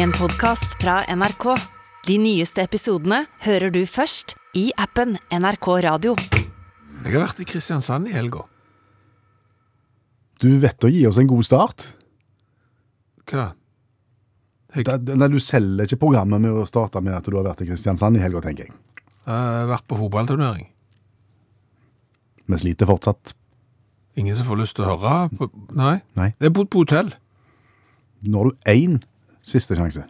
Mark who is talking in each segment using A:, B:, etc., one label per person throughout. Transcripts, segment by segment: A: En podcast fra NRK. De nyeste episodene hører du først i appen NRK Radio.
B: Jeg har vært i Kristiansand i helga.
C: Du vet å gi oss en god start.
B: Hva?
C: Da- da- Nei, Du selger ikke programmet med å starte med at du har vært i Kristiansand i helga, tenker jeg.
B: Jeg har Eh, vært på fotballturnering.
C: Vi sliter fortsatt.
B: Ingen som får lyst til å høre? På, nei.
C: Nei.
B: Jeg har bodd på hotell.
C: Nå har du én siste sjanse.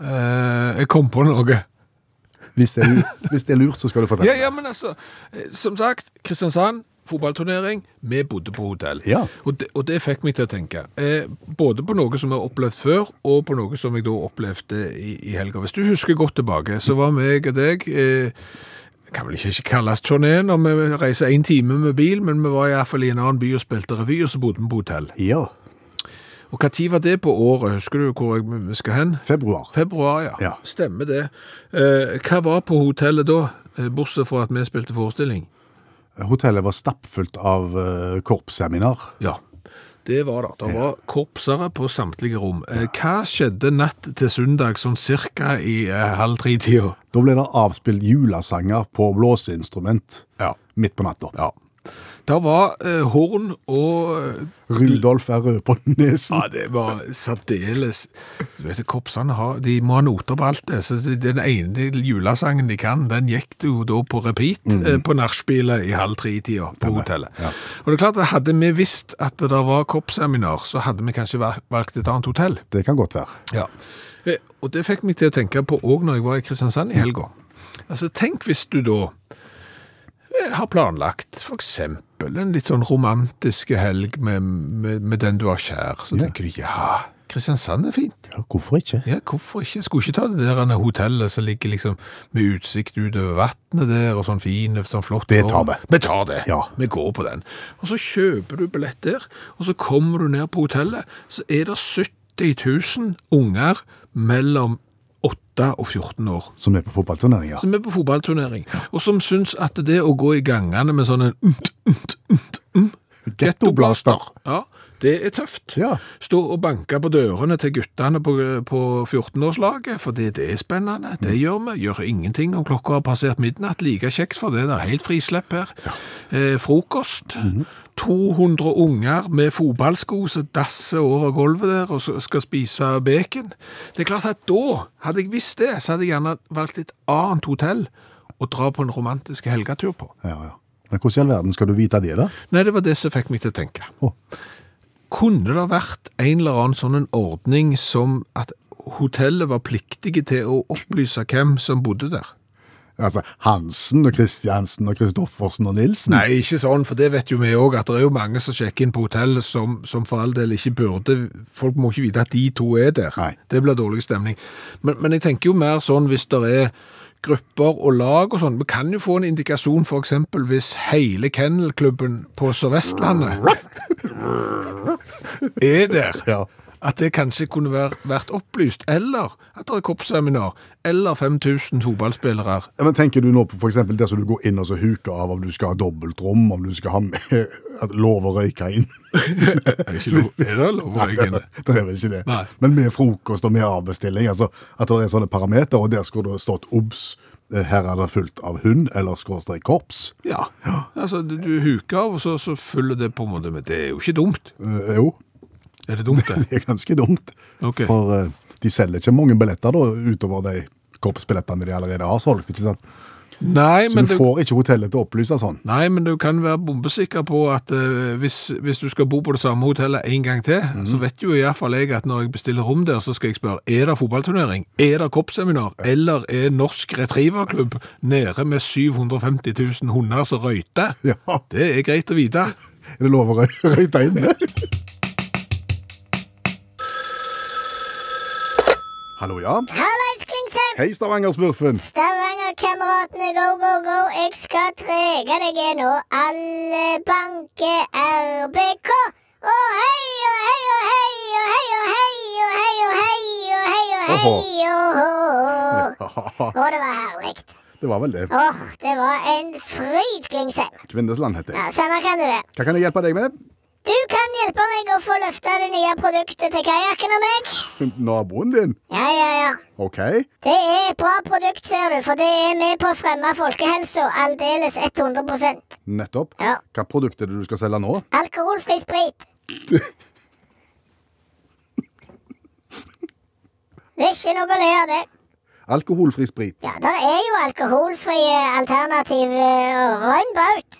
B: Eh, jeg kom på noe.
C: Hvis det er, lu- hvis det er lurt, så skal du få
B: Ja,
C: det.
B: ja, men altså, eh, som sagt, Kristiansand, fotballturnering, vi bodde på hotell.
C: Ja.
B: Og, det, og det fikk meg til å tenke, eh, både på noe som jeg har opplevd før, og på noe som jeg da opplevde i, i helga. Hvis du husker godt tilbake, så var meg og deg, eh, kan vel ikke kalles turné når vi reiser en time med bil, men vi var i hvert fall i en annen by og spilte revy, og så bodde vi på hotell.
C: Ja.
B: Og hva tid var det på året? Husker du hvor jeg, vi skal hen?
C: Februar.
B: Februar, ja.
C: Ja.
B: Stemmer det. Eh, hva var på hotellet da, Eh, bortsett fra at vi spilte forestilling?
C: Hotellet var stappfullt av eh, korpsseminar.
B: Ja, det var det. Det var korpsere på samtlige rom. Eh, Hva skjedde natt til søndag, sånn cirka i eh, halv tre-tida?
C: Da ble det avspilt julesanger på blåseinstrument
B: Ja.
C: midt på natta.
B: Det var eh, horn og eh,
C: Rudolf er rød på nesen.
B: Ja, det var særdeles Du vet, korpsene har, de må ha noter på alt det. Så den ene julesangen de kan, den gikk det jo da på repeat eh, på nachspielet i halv tre-tida på hotellet. Og det er klart, at hadde vi visst at det der var korpsseminar, så hadde vi kanskje val- valgt et annet hotell.
C: Det kan godt være.
B: Ja. Eh, Og det fikk meg til å tenke på òg når jeg var i Kristiansand i helga. Altså, tenk hvis du da eh, har planlagt f.eks. en litt sånn romantiske helg med, med, med den du har kjær. Så
C: Ja.
B: tenker du ja, Kristiansand er fint.
C: Ja, hvorfor ikke?
B: Ja, hvorfor ikke? Skulle ikke ta det der ene hotellet som ligger liksom med utsikt utover vannet der, og sånn fin, sånn flott.
C: Det tar vi.
B: Vi tar det.
C: Ja.
B: Vi går på den. Og så kjøper du billett der, og så kommer du ned på hotellet, så er det 70 000 unger mellom 8 og 14 år.
C: Som er på fotballturneringer.
B: Som er på fotballturnering, og som syns at det å gå i gangene med sånn sånne umt, umt, umt, um,
C: Gettoblaster.
B: ja, det er tøft.
C: Ja.
B: Stå og banke på dørene til guttene på, på 14-årslaget, for det, det er spennende. Det gjør vi. Gjør ingenting om klokka har passert midnatt. Like kjekt for det. Det er helt frislepp her. Eh, frokost. 200 unger med fotballsko som dasser over gulvet der og så skal spise bacon. Det er klart at da, hadde jeg visst det, så hadde jeg gjerne valgt et annet hotell å dra på en romantisk helgetur på.
C: Ja, ja. Men hvordan i all verden skal du vite det, da?
B: Nei, det var det som fikk meg til å tenke.
C: Å.
B: Kunne det vært en eller annen sånn en ordning som at hotellet var pliktige til å opplyse hvem som bodde der?
C: Altså, Hansen og Kristiansen og Kristoffersen og Nilsen?
B: Nei, ikke sånn, for det vet jo vi òg, at det er jo mange som sjekker inn på hotell som, som for all del ikke burde Folk må ikke vite at de to er der.
C: Nei.
B: Det blir dårlig stemning. Men, men jeg tenker jo mer sånn hvis det er grupper og lag og sånn. Vi kan jo få en indikasjon f.eks. hvis hele kennelklubben på Sør-Vestlandet er der.
C: Ja.
B: At det kanskje kunne være, vært opplyst, eller at det er korpsseminar, eller 5000 fotballspillere.
C: Ja, Men tenker du nå på for eksempel det som du går inn og så huker av om du skal ha dobbeltrom, om du skal ha med, at lov å røyke inn?
B: Er det ikke lov? Er det lov å røyke inne?
C: Det er vel ikke det.
B: Nei.
C: Men med frokost og med avbestilling, altså at det er sånne parameter, og der skulle det stått obs, eh, her er det fullt av hund, eller skråstrek korps.
B: Ja. Altså, du, du huker av, og så, så følger det på en måte med. Det er jo ikke dumt.
C: Eh, jo,
B: Er det dumt, det?
C: det er ganske dumt.
B: Ok.
C: For eh, de selger ikke mange billetter da, utover de korpsbillettene de allerede har solgt, ikke sant?
B: Nei,
C: Så
B: men
C: du
B: det,
C: får ikke hotellet til å opplyse sånn.
B: nei, men du kan være bombesikker på at eh, hvis, hvis du skal bo på det samme hotellet en gang til, så vet jo i hvert fall jeg at når jeg bestiller rom der, så skal jeg spørre er det fotballturnering, er det koppseminar, eller er Norsk Retrieverklubb nede med 750 000 hunder som røyter?
C: Ja.
B: Det er greit å vite.
C: Er det lov å røy- røyte inne? Hallo, ja.
D: Hallais, Klingsheim!
C: Hei, Stavanger-smurfen.
D: Stavanger-kameratene, go, go, go. Jeg skal trege deg nå. Alle banker RBK. Å hei, å hei, å hei, å hei, å hei, å hei, å hei, å hei, å hei,
C: Åhå.
D: å hå.
C: Haha,
D: Å, det var herlig.
C: Det var vel det.
D: Åh, det var en fryd, Klingsheim.
C: Kvindesland heter jeg.
D: Ja, samme kan det være.
C: Hva kan jeg hjelpe deg med?
D: Du kan hjelpe meg å få løfta det nye produktet til kajakken og meg.
C: Naboen din?
D: Ja, ja, ja.
C: OK.
D: Det er et bra produkt, ser du, for det er med på å fremme folkehelsa aldeles 100
C: Nettopp.
D: Ja.
C: Hva produkt er det du skal selge nå?
D: Alkoholfri sprit. Det er ikke noe å le av, det.
C: Alkoholfri sprit.
D: Ja, Det er jo alkoholfrie alternativ eh, rønnbaut.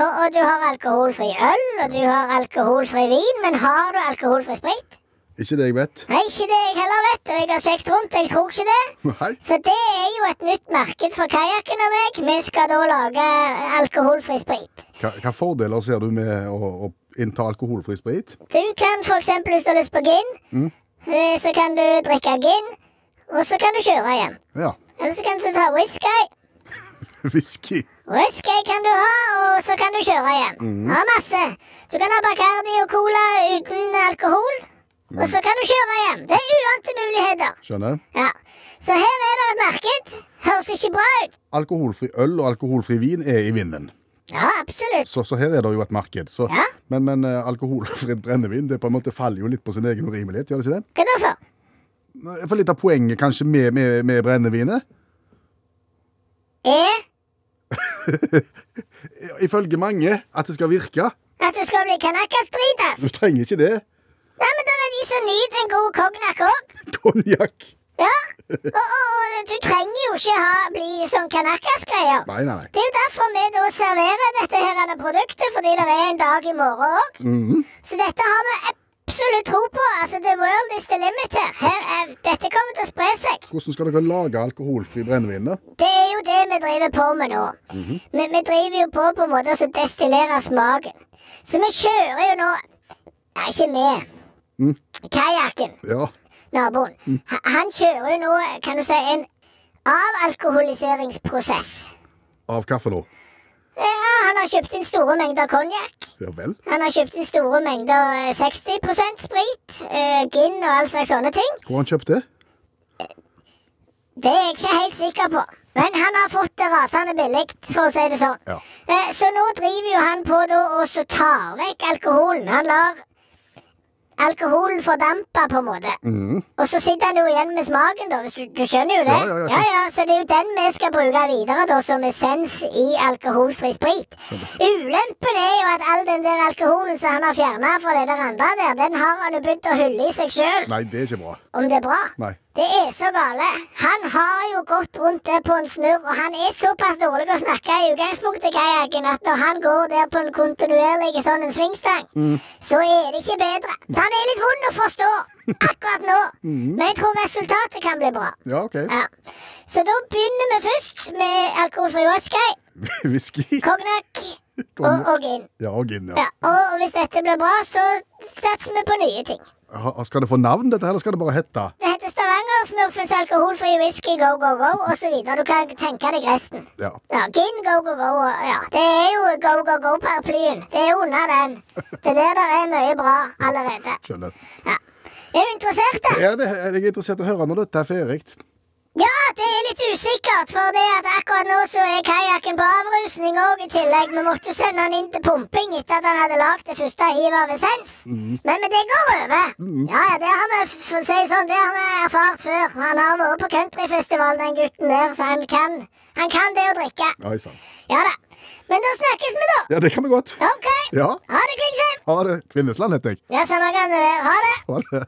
D: Og, og du har alkoholfri øl, og du har alkoholfri vin, men har du alkoholfri sprit?
C: Ikke det jeg vet.
D: Nei, ikke det jeg heller vet, og jeg har søkt rundt, og jeg tror ikke det.
C: Nei.
D: Så det er jo et nytt marked for kajakken og meg. Vi skal da lage alkoholfri sprit.
C: Hva, hva fordeler ser du med å, å innta alkoholfri sprit?
D: Du kan for eksempel, hvis du har lyst på gin, eh, så kan du drikke gin, og så kan du kjøre hjem.
C: Ja.
D: Eller så kan du ta whisky.
C: Whisky.
D: Whisky kan du ha, og så kan du kjøre hjem. Ja, masse. Du kan ha Bacardi og cola uten alkohol, og så kan du kjøre hjem. Det er uante muligheter.
C: Skjønner.
D: Ja. Så her er det et marked. Høres ikke bra ut.
C: Alkoholfri øl og alkoholfri vin er i vinden.
D: Ja, absolutt.
C: Så, så her er det jo et marked. Så,
D: Ja.
C: Men, men eh, alkoholfritt brennevin det på en måte faller jo litt på sin egen urimelighet, gjør det ikke det?
D: Hva da for?
C: Nei, For litt av poenget kanskje med, med, med brennevinet,
D: Er
C: ifølge mange, at det skal virke.
D: at du skal bli kanakastritas.
C: Du trenger ikke det.
D: Nei, men det er de som nyter en god cognac òg.
C: Konjakk.
D: Ja. Og, og, og du trenger jo ikke ha, bli sånn kanakasgreier.
C: Nei, nei, nei.
D: Det er jo derfor vi da serverer dette her denne produktet, fordi det er en dag i morgen òg. Så dette har vi absolutt tro på. Altså, The world is the limit her. her er, dette kommer til å spre seg.
C: Hvordan skal dere lage alkoholfri brennevin? da?
D: Det er jo det vi driver på med nå. vi, vi driver jo på på en måte å destillere smaken. Så vi kjører jo nå Nei, ikke vi. Kajakken,
C: Ja.
D: naboen, ha- han kjører jo nå, kan du si, en avalkoholiseringsprosess.
C: Av kaffe, da.
D: Ja, han har kjøpt inn store mengder konjakk.
C: Ja vel.
D: Han har kjøpt inn store mengder eh, 60 sprit, eh, gin og all slags sånne ting.
C: Hvor har han kjøpt det?
D: Det er jeg ikke helt sikker på. Men han har fått det rasende billig, for å si det sånn.
C: Ja.
D: Eh, Så nå driver jo han på da og så tar vekk alkoholen. Han lar alkoholen fordampe, på en måte. Og så sitter han jo igjen med smaken, da. Hvis du, du skjønner jo det?
C: Mm. Ja, ja, ja,
D: ja, Så det er jo den vi skal bruke videre, da, som essens i alkoholfri sprit. Ulempen er jo at all den der alkoholen som han har fjerna fra det der andre der, den har han jo begynt å hylle i seg sjøl,
C: Nei, det er ikke bra.
D: om det er bra.
C: Nei.
D: Det er så gale. Han har jo gått rundt der på en snurr, og han er såpass dårlig å snakke i utgangspunktet, kajakken, at når han går der på en kontinuerlig sånn en svingstang, så er det ikke bedre. Så han er litt vond å forstå akkurat nå, men jeg tror resultatet kan bli bra.
C: Ja, OK.
D: Ja. Så da begynner vi først med alkoholfri whisky,
C: Whisky.
D: cognac og,
C: Konjakk.
D: og gin.
C: Ja, og gin.
D: Ja,
C: Ja.
D: og, og hvis dette blir bra, så satser vi på nye ting.
C: Ha- Skal det få navn, dette, eller skal det bare hete
D: Det heter Stavanger-smurfens alkoholfri whisky go, go, go osv. Du kan tenke deg resten.
C: Ja.
D: Ja, gin, go, go, go. og- Ja. Det er jo go, go, go-paraplyen. Det er under den. Det der der er mye bra allerede.
C: Skjønner.
D: Ja. Er du interessert? da?
C: Er det, er jeg interessert i å høre når dette er ferdig?
D: Ja, det er litt usikkert, for det at akkurat nå så er kajakken på avrusning òg i tillegg. Vi måtte jo sende han inn til pumping etter at han hadde lagd det første hivet av essens.
C: Mhm.
D: Men, men det går over. Ja, ja, det har vi for å si det sånn, det har vi erfart før. Han har vært på countryfestival, den gutten der, så han kan, han kan det å drikke.
C: Oi sann.
D: Ja da. Men da snakkes vi, da.
C: Ja, det kan vi godt.
D: OK.
C: Ja.
D: Ha det, Klingsheim.
C: Ha det. Kvinnesland heter jeg.
D: Ja, samme kan det være. Ha det.
C: Ha det.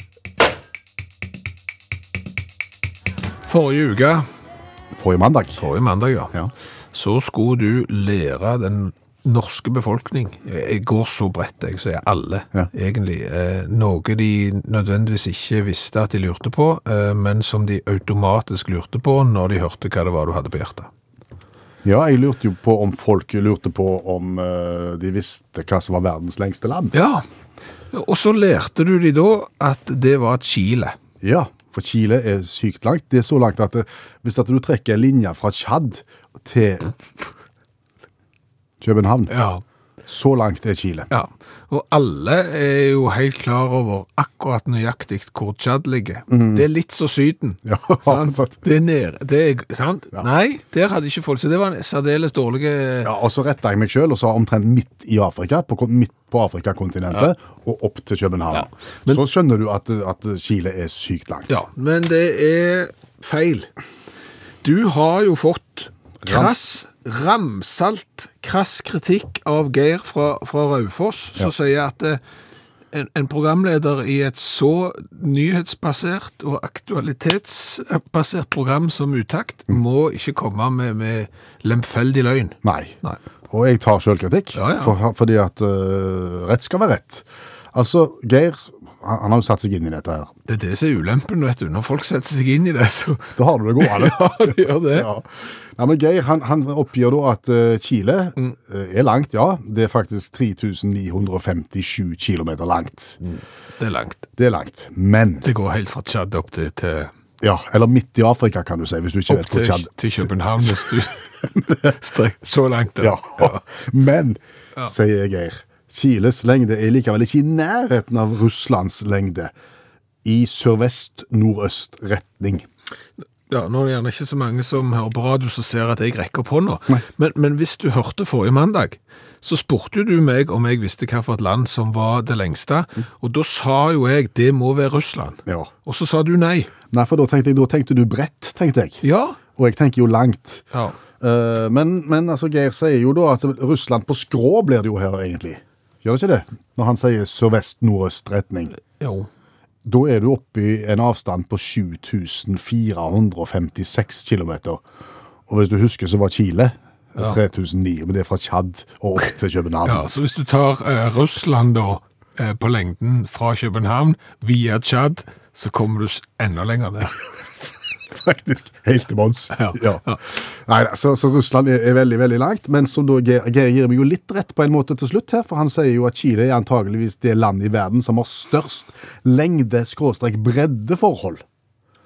B: Forrige uke,
C: Forrige mandag.
B: forrige mandag, ja,
C: Ja.
B: så skulle du lære den norske befolkning, jeg går så bredt, jeg sier alle,
C: Ja.
B: egentlig, eh, noe de nødvendigvis ikke visste at de lurte på, eh, men som de automatisk lurte på når de hørte hva det var du hadde på hjertet.
C: Ja, jeg lurte jo på om folk lurte på om eh, de visste hva som var verdens lengste land.
B: Ja, og så lærte du de da at det var Chile.
C: Ja, for Chile er sykt langt. Det er så langt at eh, hvis at du trekker en linje fra Tsjad til København,
B: Ja.
C: Så langt er Chile.
B: Ja, og alle er jo helt klar over akkurat nøyaktig hvor Tsjad ligger. Det er litt så Syden.
C: Ja,
B: sant?
C: sant.
B: Det er nede. Det er, sant? Nei, der hadde ikke folk Så det var en særdeles dårlig eh,
C: Ja, og så retta jeg meg sjøl og sa omtrent midt i Afrika, på, kon- midt på Afrikakontinentet, og opp til København. så skjønner du at, at Chile er sykt langt.
B: Ja, men det er feil. Du har jo fått krass, ramsalt krass kritikk av Geir fra, fra Raufoss, som sier at eh, en, en programleder i et så nyhetsbasert og aktualitetsbasert program som Utakt, må ikke komme med, med lemfeldig løgn.
C: Nei.
B: Nei.
C: Og jeg tar sjølkritikk,
B: Ja, ja.
C: for, fordi at eh, rett skal være rett. Altså, Geir han, han har jo satt seg inn i dette her.
B: Det er det som er ulempen, vet du. Når folk setter seg inn i det, så
C: Da har du det gående.
B: Ja, de gjør det.
C: Ja. Nei, men Geir han, han oppgir da at eh, Chile
B: Mm.
C: eh, er langt, ja. Det er faktisk 3957 km langt.
B: Mm. Det er langt.
C: Det er langt. Men
B: Det går helt fra Tsjad opp til, til,
C: Ja, eller midt i Afrika, kan du si, hvis du ikke
B: opp
C: vet hvor
B: til,
C: Tsjad
B: til København. Hvis du strekker så langt. da.
C: Ja. Men, sier Geir, Chiles lengde er likevel ikke i nærheten av Russlands lengde. I sørvest-nordøst retning.
B: Ja, nå er det gjerne ikke så mange som hører på radio som ser at jeg rekker opp hånda. Men, men hvis du hørte forrige mandag, så spurte jo du meg om jeg visste hvilket land som var det lengste, og da sa jo jeg det må være Russland.
C: Mm. Ja.
B: Og så sa du nei.
C: Nei, for da tenkte jeg, da tenkte du bredt, tenkte jeg.
B: Ja.
C: Og jeg tenker jo langt.
B: Ja.
C: Eh, men, men altså, Geir sier jo da at Russland på skrå blir det jo her, egentlig. Gjør det ikke det? Når han sier sørvest-nordøst retning.
B: Jo.
C: Da er du oppe i en avstand på 7456 km. Og hvis du husker, så var Chile 3009, men det er fra Tsjad og opp til København.
B: Ja,
C: altså,
B: så hvis du tar eh, Russland da, eh, på lengden fra København via Tsjad, så kommer du s- enda lenger ned.
C: Faktisk helt til bunns.
B: Ja.
C: Ja. Neida, Så, så Russland er, er veldig veldig langt, men som da Geir, Geir gir meg jo litt rett på en måte til slutt her, for han sier jo at Chile er antageligvis det landet i verden som har størst lengde-breddeforhold.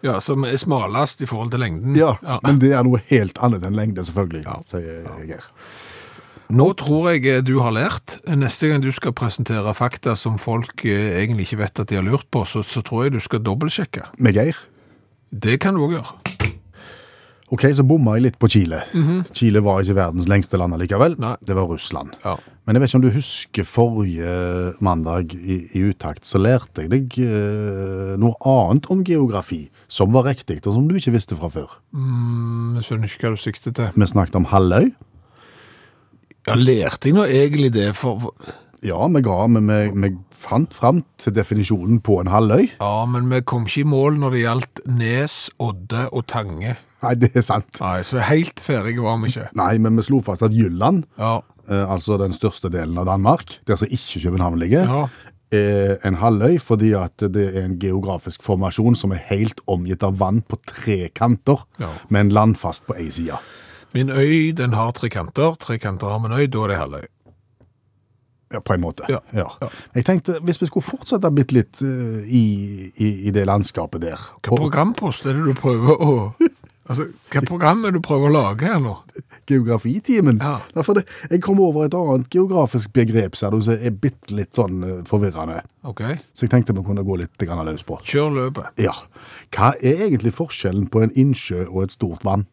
B: Ja, som er smalest i forhold til lengden.
C: Ja, Men det er noe helt annet enn lengde, selvfølgelig, sier Geir.
B: Nå tror jeg eh, du har lært. Neste gang du skal presentere fakta som folk eh, egentlig ikke vet at de har lurt på, så, så tror jeg du skal dobbeltsjekke.
C: Med Geir
B: Det kan du òg gjøre.
C: Ok, så bomma jeg litt på Chile. Chile var ikke verdens lengste land allikevel.
B: Nei.
C: Det var Russland.
B: Ja.
C: Men jeg vet ikke om du husker forrige mandag i, i utakt, så lærte jeg deg eh, noe annet om geografi som var riktig, og som du ikke visste fra før.
B: Men jeg skjønner ikke hva Mm, du sikter til.
C: Vi snakket om halvøy.
B: Ja, Lærte jeg nå egentlig det for for-
C: Ja, vi, ga, vi, vi, vi fant fram til definisjonen på en halvøy.
B: Ja, men vi kom ikke i mål når det gjaldt Nes, Odde og Tange.
C: Nei, det er sant.
B: Nei, så helt ferdige var vi ikke.
C: Nei, men vi slo fast at Jylland,
B: Ja.
C: eh, altså den største delen av Danmark, der som ikke København ligger,
B: Ja.
C: er en halvøy fordi at det er en geografisk formasjon som er helt omgitt av vann på tre kanter,
B: Ja.
C: men landfast på ei side.
B: Min øy den har tre kanter. Tre kanter har min øy, da er det halvøy.
C: Ja, på en måte.
B: Ja.
C: Jeg tenkte, hvis vi skulle fortsette bitte litt eh, i, i, i det landskapet der
B: Hva programpost er det du prøver å Altså, hva program er det du prøver å lage her nå?
C: geografitimen.
B: Ja.
C: Derfor det, jeg kom over et annet geografisk begrep ser du, som er bitte litt sånn eh, forvirrende.
B: OK,
C: Så jeg tenkte vi kunne gå litt grann løs på.
B: kjør løpet.
C: Ja. Hva er egentlig forskjellen på en innsjø og et stort vann?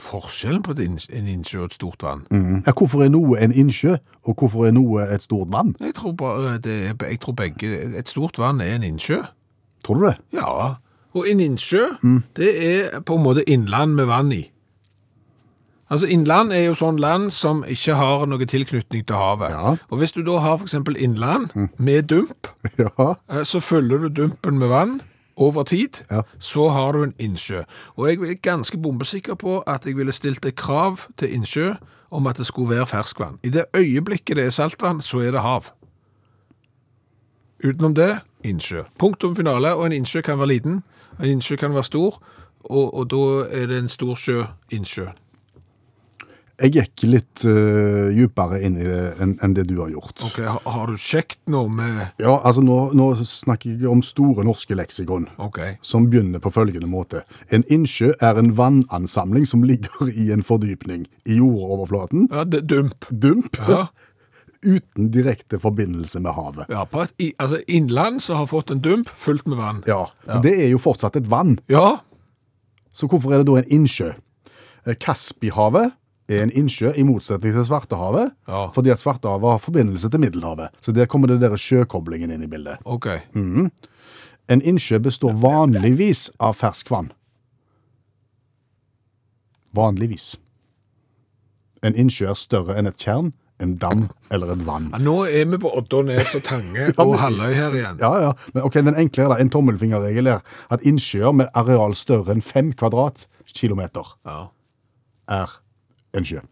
B: Forskjellen på et inns- en innsjø og et stort vann?
C: Mm. Ja, hvorfor er noe en innsjø, og hvorfor er noe et stort vann?
B: Jeg, tror bare eh, det er, jeg tror begge Et stort vann er en innsjø.
C: Tror du det?
B: Ja. Og en innsjø, det er på en måte innland med vann i. Altså Innland er jo sånn land som ikke har noe tilknytning til havet.
C: Ja.
B: Og Hvis du da har f.eks. innland med dump,
C: Ja.
B: eh, så fyller du dumpen med vann over tid.
C: Ja.
B: Så har du en innsjø. Og jeg er ganske bombesikker på at jeg ville stilt et krav til innsjø om at det skulle være ferskvann. I det øyeblikket det er saltvann, så er det hav. Utenom det, innsjø. Punktum finale, og en innsjø kan være liten, en innsjø kan være stor, og, og da er det en stor sjø, innsjø.
C: Jeg gikk litt eh, dypere inn i det enn enn det du har gjort.
B: Ok, har, har du sjekt noe med
C: Ja, altså nå, nå snakker jeg om Store norske leksikon,
B: Ok.
C: som begynner på følgende måte. En innsjø er en vannansamling som ligger i en fordypning i jordoverflaten,
B: Ja, det, dump.
C: dump,
B: Ja.
C: uten direkte forbindelse med havet.
B: Ja, på et, i, altså innland som har fått en dump fullt med vann.
C: Ja, men det er jo fortsatt et vann,
B: Ja,
C: så hvorfor er det da en innsjø? Eh, Kaspihavet er en innsjø i motsetning til Svartehavet,
B: Ja.
C: fordi at Svartehavet har forbindelse til Middelhavet. Så der kommer det der sjøkoblingen inn i bildet.
B: ok.
C: En innsjø består vanligvis av ferskvann. Vanligvis. En innsjø er større enn et tjern, en dam eller et vann.
B: Ja, nå er vi på Odda, Nes og Tange og Halløy her igjen.
C: Ja, ja, men ok, den enklere da, en tommelfingerregel er at innsjøer med areal større enn fem kvadratkilometer
B: Ja.
C: er en sjø.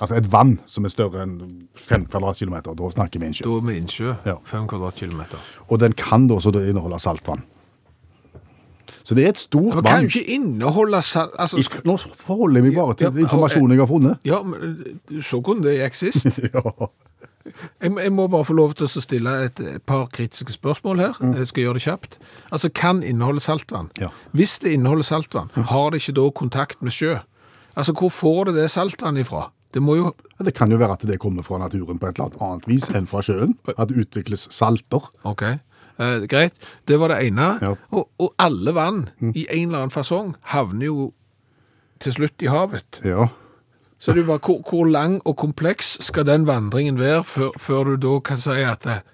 C: Altså et vann som er større enn fem kvadratkilometer, da snakker vi innsjø.
B: Da er vi innsjø.
C: Ja.
B: Fem kvadratkilometer.
C: Og den kan da også da inneholde saltvann. Så det er et stort
B: Men kan
C: vann.
B: jo ikke inneholde sal... Altså,
C: If- Nå forholder jeg meg bare
B: Ja,
C: til
B: og-
C: informasjonen jeg har funnet.
B: ja, men du så hvordan det gikk sist.
C: Ja.
B: Jeg, jeg må bare få lov til å stille et, et par kritiske spørsmål her. Jeg skal gjøre det kjapt. Altså, kan inneholde saltvann?
C: Mm. Ja. Mm.
B: Hvis det inneholder saltvann, har det ikke da kontakt med sjø? Altså, hvor får det det saltvann ifra? Det må jo...
C: Ja, Det kan jo være at det kommer fra naturen på et eller annet annet vis enn fra sjøen. At det utvikles salter.
B: Ok, eh, greit. Det var det ene.
C: Ja.
B: Og, og alle vann i en eller annen fasong havner jo til slutt i havet.
C: Ja.
B: Så det er jo bare, hvor, hvor lang og kompleks skal den vandringen være før, før du da kan si at eh,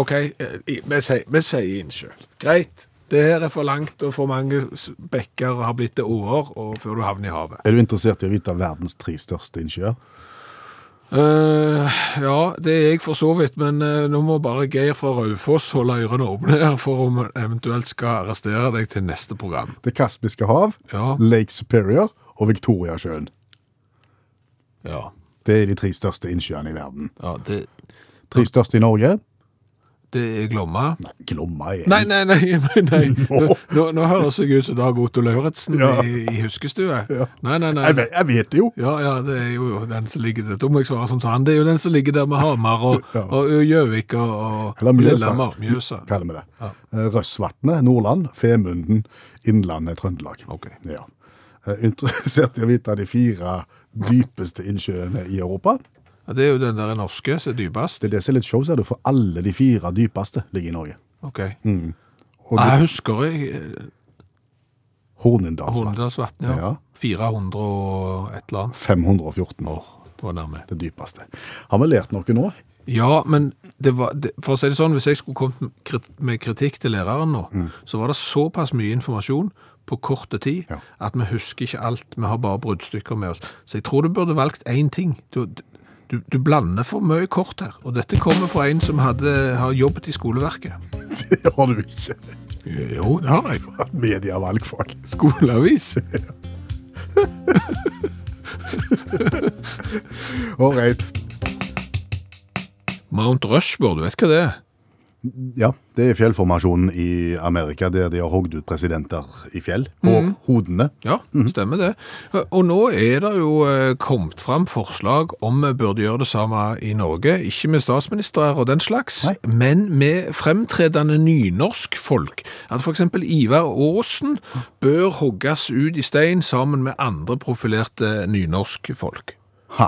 B: Ok, eh, i- vi sier, vi sier innsjø. Greit. Det her er for langt, og for mange s- bekker har blitt til åer og før du havner i havet.
C: Er du interessert i å vite verdens tre største innsjøer?
B: Eh, ja, det er jeg for så vidt, men eh, nå må bare Geir fra Raufoss holde ørene åpne her for om han eventuelt skal arrestere deg til neste program.
C: Det Kaspiske hav,
B: Ja.
C: Lake Superior og Victoriasjøen.
B: Ja,
C: Det er de tre største innsjøene i verden.
B: ja det,
C: Tre største i Norge?
B: det er Glomma.
C: Nei, Glomma er
B: Nei, nei, nei, nei, nei. Nå, nå, nå høres jeg ut som Dag Otto Lauritzen i, i huskestue. Nei, nei, nei.
C: Jeg vet, jeg vet det jo!
B: Ja, ja, det er jo den som ligger der. Da må jeg svare sånn som han. Det er jo den som ligger der med Hamar og
C: Ja.
B: og Gjøvik og, og,
C: Eller Mjøsa.
B: Lillehammer. Mjøsa.
C: Kaller vi det. Eh, Røsvatnet, Nordland, Femunden, Innlandet, Trøndelag.
B: Ok.
C: Ja. Eh, Interessert i å vite de fire dypeste innsjøene i Europa?
B: Ja, det er jo den der norske som er dypest.
C: Det er det som er litt show, ser du, for alle de fire dypeste ligger i Norge.
B: Ok.
C: Mm. Og
B: Nei,
C: det-
B: jeg husker jeg eh,
C: Hornindalsvatn.
B: Hornindalsvatn, ja.
C: Ja.
B: 400 og et eller annet.
C: 514 år.
B: Det var nærme.
C: Det dypeste. Har vi lært noe nå?
B: Ja, men det var, det, for å si det sånn, hvis jeg skulle kommet med krit- med kritikk til læreren nå, så var det såpass mye informasjon på korte tid
C: Ja.
B: at vi husker ikke alt, vi har bare bruddstykker med oss. Så jeg tror du burde valgt én ting. Du, du, du blander for mye kort her, og dette kommer fra en som hadde, har jobbet i skoleverket.
C: Det har du ikke.
B: Jo, det har jeg.
C: Medievalgfag.
B: Skoleavis.
C: Ålreit.
B: Mount Rushmore, du vet hva det er?
C: Ja, det er fjellformasjonen i Amerika der de har hogd ut presidenter i fjell. Og hodene.
B: Ja,
E: Mhm.
B: stemmer det. Og nå er det jo eh, kommet fram forslag om vi burde gjøre det samme i Norge. Ikke med statsministre og den slags,
C: Nei.
B: men med fremtredende nynorsk folk. At f.eks. Ivar Aasen bør hogges ut i stein sammen med andre profilerte nynorsk folk.
C: Ha.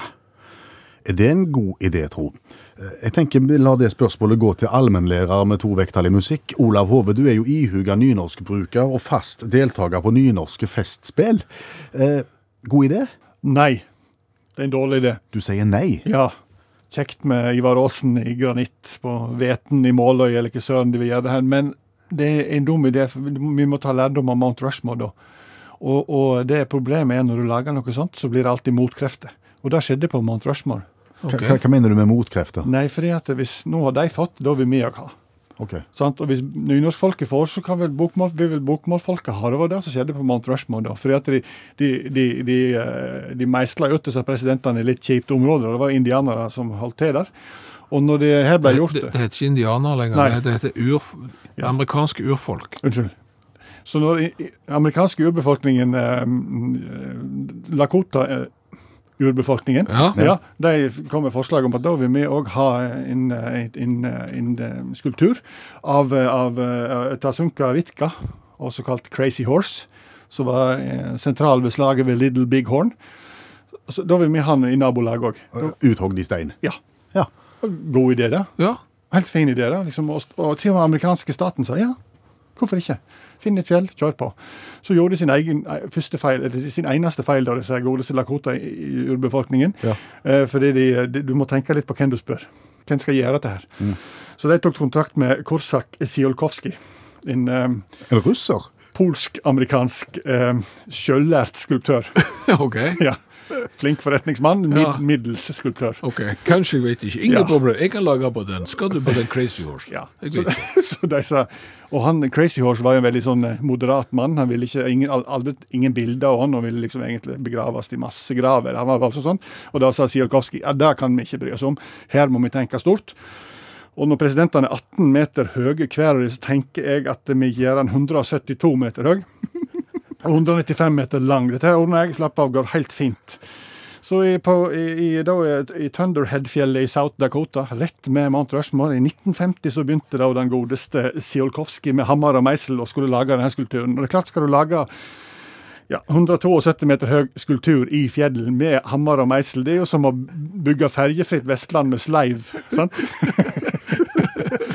C: Er det en god idé, tro? Eh, Jeg tenker vi lar det spørsmålet gå til allmennlærer med to vekttall i musikk. Olav Hove, du er jo ihuga nynorskbruker og fast deltaker på nynorske festspill. Eh, god idé?
E: Nei, det er en dårlig idé.
C: Du sier nei.
E: Ja, kjekt med Ivar Aasen i granitt på Veten i Måløy, eller hva søren de vil gjøre det hen, men det er en dum idé. for Vi må ta lærdom av Mount Rushmore, da. Og, og det problemet er når du lager noe sånt, så blir det alltid motkrefter. Og det skjedde på Mount Rushmore.
C: Hva- Hva, hva mener du med motkrefter?
E: Nei, fordi at hvis nå har de fått, da vil vi òg ha.
C: Ok. eh,
E: Sant? Og hvis nynorskfolket får, så kan vel bokmål, vil vel bokmålfolket ha det. Det var det som skjedde på Mount Rushmore. da, fordi at De, de, de, de, eh, de meisla ut disse presidentene i litt kjipt område. og Det var indianere som holdt til der. Og når det her ble gjort
B: Det, det heter ikke indianer lenger,
E: Nei.
B: det- det heter ur, amerikanske urfolk.
E: Unnskyld. Så når i- i- amerikanske urbefolkningen eh, mm, Lakota eh, urbefolkningen.
B: Ja.
E: De kom med forslag om at da vil vi òg ha en, eh, en, eh, en eh, skulptur av, eh, av eh, Tasunka Witka, også kalt Crazy Horse, som var eh, sentral ved slaget ved Little Big Horn. Så da vil vi ha han i nabolaget òg.
C: Uthogd i stein.
E: Ja.
C: Ja.
E: God idé, det.
B: Ja.
E: Helt fin idé, da. Liksom, og, og til og med amerikanske staten sa ja, hvorfor ikke? Finn et fjell, kjør på. Så gjorde de sin egen eh, første feil, eller sin eneste feil, da, disse godeste lakota i, i urbefolkningen.
C: Ja.
E: Eh, fordi de, de, du må tenke litt på hvem du spør. Hvem skal gjøre dette her? Så de tok kontakt med Korsak Siolkovskij. En eh,
C: En russer?
E: polsk-amerikansk eh, sjøllært skulptør.
B: OK.
E: ja. Flink forretningsmann, mid,
B: Ja.
E: middels skulptør.
B: ok, Kanskje jeg vet ikke. Ingen
E: Ja.
B: problem. Jeg kan lage på den. Skal du på den Crazy Horse?
E: Ja.
B: Jeg
E: Så,
B: vet ikke.
E: så de sa, og han, Crazy Horse var jo en veldig sånn eh, moderat mann. Han ville ikke, ingen, al- aldri, ingen bilder av han, og ville liksom egentlig begraves i massegraver. Han var altså sånn. Og da sa Siolkovskij ja, det kan vi ikke bry oss om, her må vi tenke stort. Og når presidentene er 18 meter høye hver av dem, så tenker jeg at vi gjør han 172 meter høy. Og 195 meter lang. Dette her ordner jeg, slapp av, går helt fint. Så i, på, i, i, da, i Thunderhead-fjellet i South Dakota, rett med Mount Rushmore, i 1950 så begynte da den godeste Siolkovskij med hammer og meisel og skulle lage denne skulpturen. Og det er klart skal du lage ja, 172 meter høy skulptur i fjellet med hammer og meisel, det er jo som å bygge ferjefritt Vestland med sleiv, sant?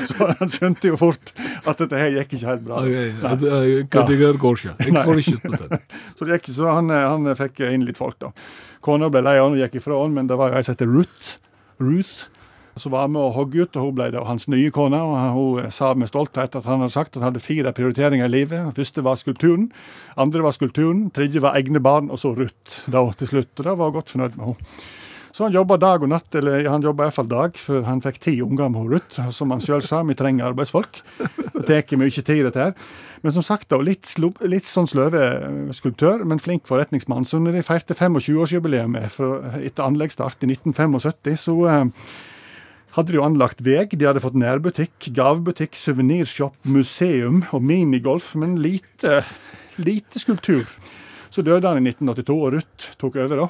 E: så han skjønte jo fort at dette her gikk ikke helt bra.
B: Ok,
E: Nei.
B: det- jeg- Det går ikke. Jeg får ikke til den.
E: Så det gikk, så han, eh, han fikk inn litt folk, da. Kona ble lei av han og gikk ifra han, men det var jo ei som heter Ruth. Ruth. Så var han med og hogg ut, og hun ble da hans nye kone. og han- Hun sa med stolthet at han hadde sagt at han hadde fire prioriteringer i livet. Den første var skulpturen, andre var skulpturen, tredje var egne barn, og så Ruth da til slutt. Og da var hun godt fornøyd med henne. Så han jobba dag og natt, eller han jobba iallfall dag, før han fikk ti unger med Ruth. og Som han sjøl sa, vi trenger arbeidsfolk. Det tar mye tid, dette her. Men som sagt, da, litt, slo- litt sånn sløve eh, skulptør, men flink forretningsmann. Så når de feirte 25-årsjubileet fra- etter anleggsstart i 1975, så eh, hadde de jo anlagt veg, de hadde fått nærbutikk, gavebutikk, suvenirshop, museum og minigolf, men lite, lite skulptur. Så døde han i 1982, og Ruth tok over. da.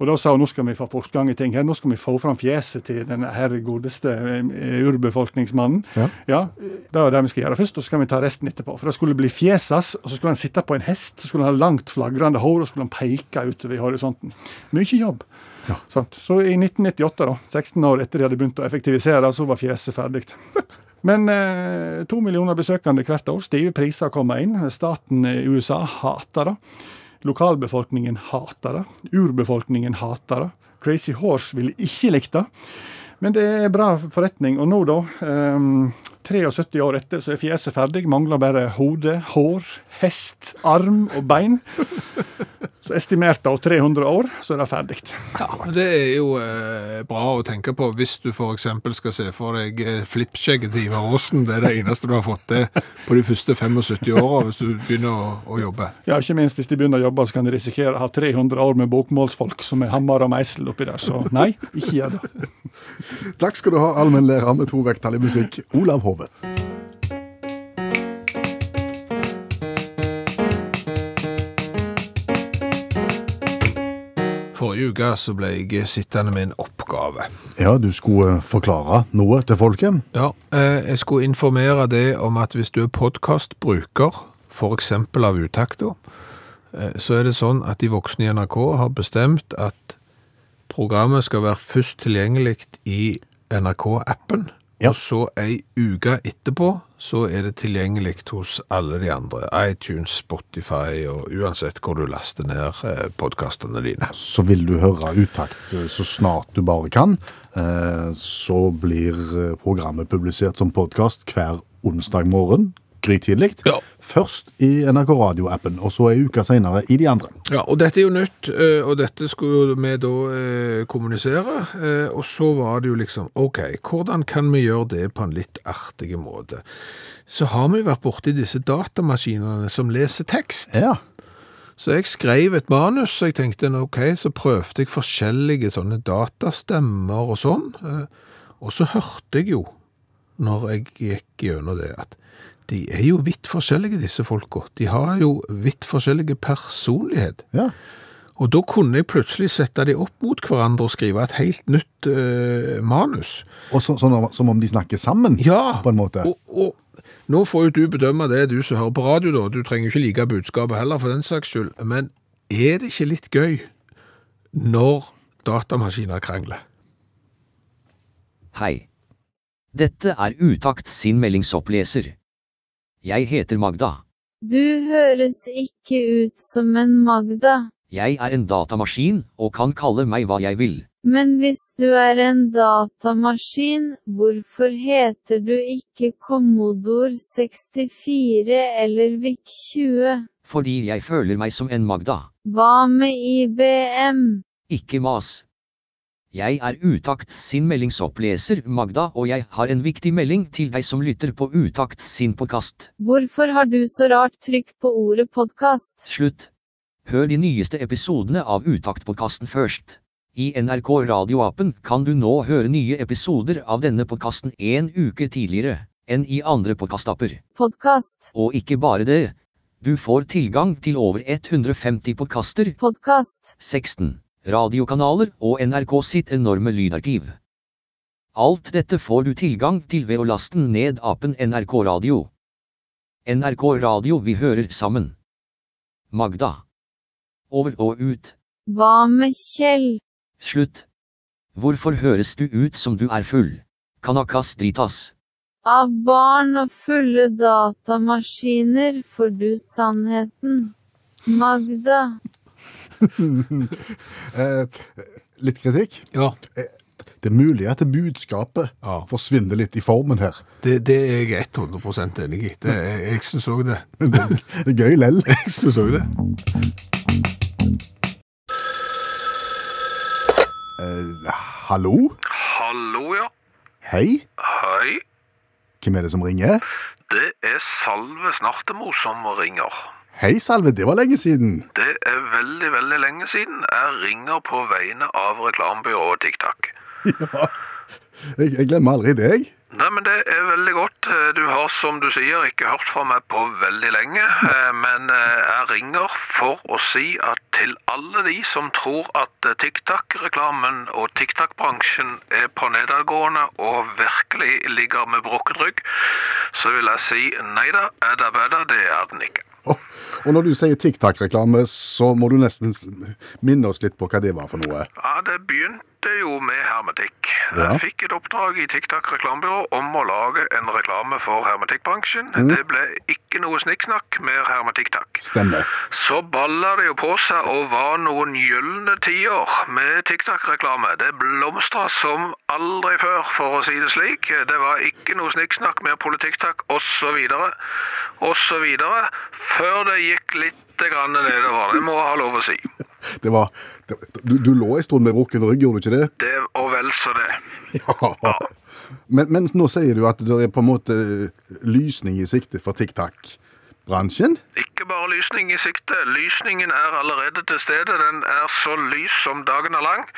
E: Og da sa hun nå skal vi få fortgang i ting her, nå skal vi få fram fjeset til den her godeste eh, urbefolkningsmannen.
C: Ja.
E: eh, Det er det vi skal gjøre først, og så skal vi ta resten etterpå. For det skulle bli fjesas, og så skulle han sitte på en hest, så skulle han ha langt flagrende hår, og så skulle han peke utover i horisonten. Mye jobb. Sant? Så i 1998, da, 16 år etter de hadde begynt å effektivisere, så var fjeset ferdig. Men eh, to millioner besøkende hvert år. Stive priser kommer inn. Staten i USA hater det. Lokalbefolkningen hater det. Urbefolkningen hater det. Crazy Horse ville ikke likt det. Men det er bra forretning. Og nå, da, ehm, 73 år etter, så er fjeset ferdig. Mangler bare hode, hår, hest, arm og bein. Så estimert da 300 år, så er det ferdig.
B: Ja, men Det er jo eh, bra å tenke på hvis du f.eks. skal se for deg eh, flippskjegget til Ivar Aasen. Det er det eneste du har fått til på de første 75 åra hvis du begynner å, å jobbe.
E: Ja, ikke minst hvis de begynner å jobbe, så kan de risikere å ha 300 år med bokmålsfolk som er hammer og meisel oppi der. Så nei, ikke gjør det.
C: Takk skal du ha, allmennlærer med to vekttall i musikk, Olav Hove.
B: Forrige uke så ble jeg sittende med en oppgave.
C: Ja, du skulle forklare noe til folket.
B: Ja, eh, Jeg skulle informere deg om at hvis du er podkastbruker, f.eks. av Utakta, eh, så er det sånn at de voksne i NRK har bestemt at programmet skal være først tilgjengelig i NRK-appen.
C: Ja.
B: Og så ei uke etterpå så er det tilgjengelig hos alle de andre. iTunes, Spotify og uansett hvor du laster ned podkastene dine.
C: Så vil du høre utakt eh, så snart du bare kan. Eh, Så blir eh, programmet publisert som podkast hver onsdag morgen. Grytidlig.
B: Ja.
C: Først i NRK Radio-appen, og så ei uke senere i de andre.
B: Ja, og dette er jo nytt, eh, og dette skulle jo vi da eh, kommunisere. eh, Og så var det jo liksom OK, hvordan kan vi gjøre det på en litt artig måte? Så har vi jo vært borti disse datamaskinene som leser tekst.
C: Ja.
B: Så jeg skrev et manus, og jeg tenkte "Nå, OK, så prøvde jeg forskjellige sånne datastemmer og sånn. eh, Og så hørte jeg jo, når jeg gikk gjennom det, at de er jo vidt forskjellige, disse folka. De har jo vidt forskjellige personlighet.
C: ja.
B: Og da kunne jeg plutselig sette de opp mot hverandre og skrive et helt nytt eh, manus.
C: Og så, sånn, om- som om de snakker sammen,
B: Ja,
C: på en måte.
B: Og, og nå får jo du bedømme det, du som hører på radio, da. Du trenger jo ikke like budskapet heller, for den saks skyld. Men er det ikke litt gøy når datamaskiner krangler?
F: Hei. Dette er Utakt sin meldingsoppleser. Jeg heter Magda.
G: Du høres ikke ut som en Magda,
F: Jeg er en datamaskin og kan kalle meg hva jeg vil.
G: men hvis du er en datamaskin, hvorfor heter du ikke Commodore 64 eller VIC-20?
F: Fordi jeg føler meg som en Magda.
G: Hva med IBM?
F: Ikke mas. Jeg er Utakt sin meldingsoppleser, Magda, og jeg har en viktig melding til deg som lytter på Utakt sin podkast.
G: Hvorfor har du så rart trykk på ordet podkast?
F: Slutt. Hør de nyeste episodene av Utaktpodkasten først. I NRK radioappen kan du nå høre nye episoder av denne podkasten en uke tidligere enn i andre podkastapper.
G: Podkast.
F: Og ikke bare det. Du får tilgang til over 150 podkaster,
G: Podkast.
F: 16 radiokanaler og NRK sitt enorme lydarkiv. Alt dette får du tilgang til ved å laste ned apen NRK Radio. NRK Radio vi hører sammen. Magda. Over og ut.
G: Hva med Kjell?
F: Slutt. Hvorfor høres du ut som du er full? Kanakas dritas.
G: Av barn og fulle datamaskiner får du sannheten. Magda.
C: Eh, litt kritikk.
B: Ja.
C: Det er mulig at det budskapet
B: Ja.
C: forsvinner litt i formen her.
B: Det, det er jeg 100 enig i. Det, er- jeg syns òg det.
C: Men det, det er gøy lell.
B: Jeg syns òg det.
C: Eh, Hallo?
H: Hallo, ja.
C: Hei?
H: Hei.
C: Hvem er det som ringer?
H: Det er Salve Snartemo som ringer.
C: Hei, Salve, det var lenge siden.
H: Det er veldig, veldig lenge siden jeg ringer på vegne av reklamebyrået TikTok.
C: Ja. Jeg, jeg glemmer aldri deg.
H: Nei, men det er veldig godt. Eh, Du har, som du sier, ikke hørt fra meg på veldig lenge. eh, Men eh, jeg ringer for å si at til alle de som tror at eh, TikTok-reklamen og TikTok-bransjen er på nedadgående og virkelig ligger med brukket rygg, så vil jeg si nei da, edda bedda, det er den ikke.
C: Og, og når du sier TikTok-reklame, så må du nesten minne oss litt på hva det var for noe.
H: Ja, det begynte jo med hermetikk.
C: Ja.
H: Jeg fikk et oppdrag i TikTok reklamebyrå om å lage en reklame for hermetikkbransjen.
B: Mm.
H: Det ble ikke noe snikksnakk, mer hermetikk-takk.
C: Stemmer.
H: Så balla det jo på seg og var noen gylne tider med TikTok-reklame. Det blomstra som aldri før, for å si det slik. Det var ikke noe snikksnakk med politikk-takk osv. osv. Før det gikk litt grann nedover. Det må jeg ha lov å si.
C: Det var, det, du, du lå en stund med brukken rygg, gjorde du ikke det?
H: Det og vel så det.
C: Ja. Men, men nå sier du at det er på en måte eh, lysning i sikte for TikTok-bransjen.
H: Ikke bare lysning i sikte. Lysningen er allerede til stede. Den er så lys som dagen er lang.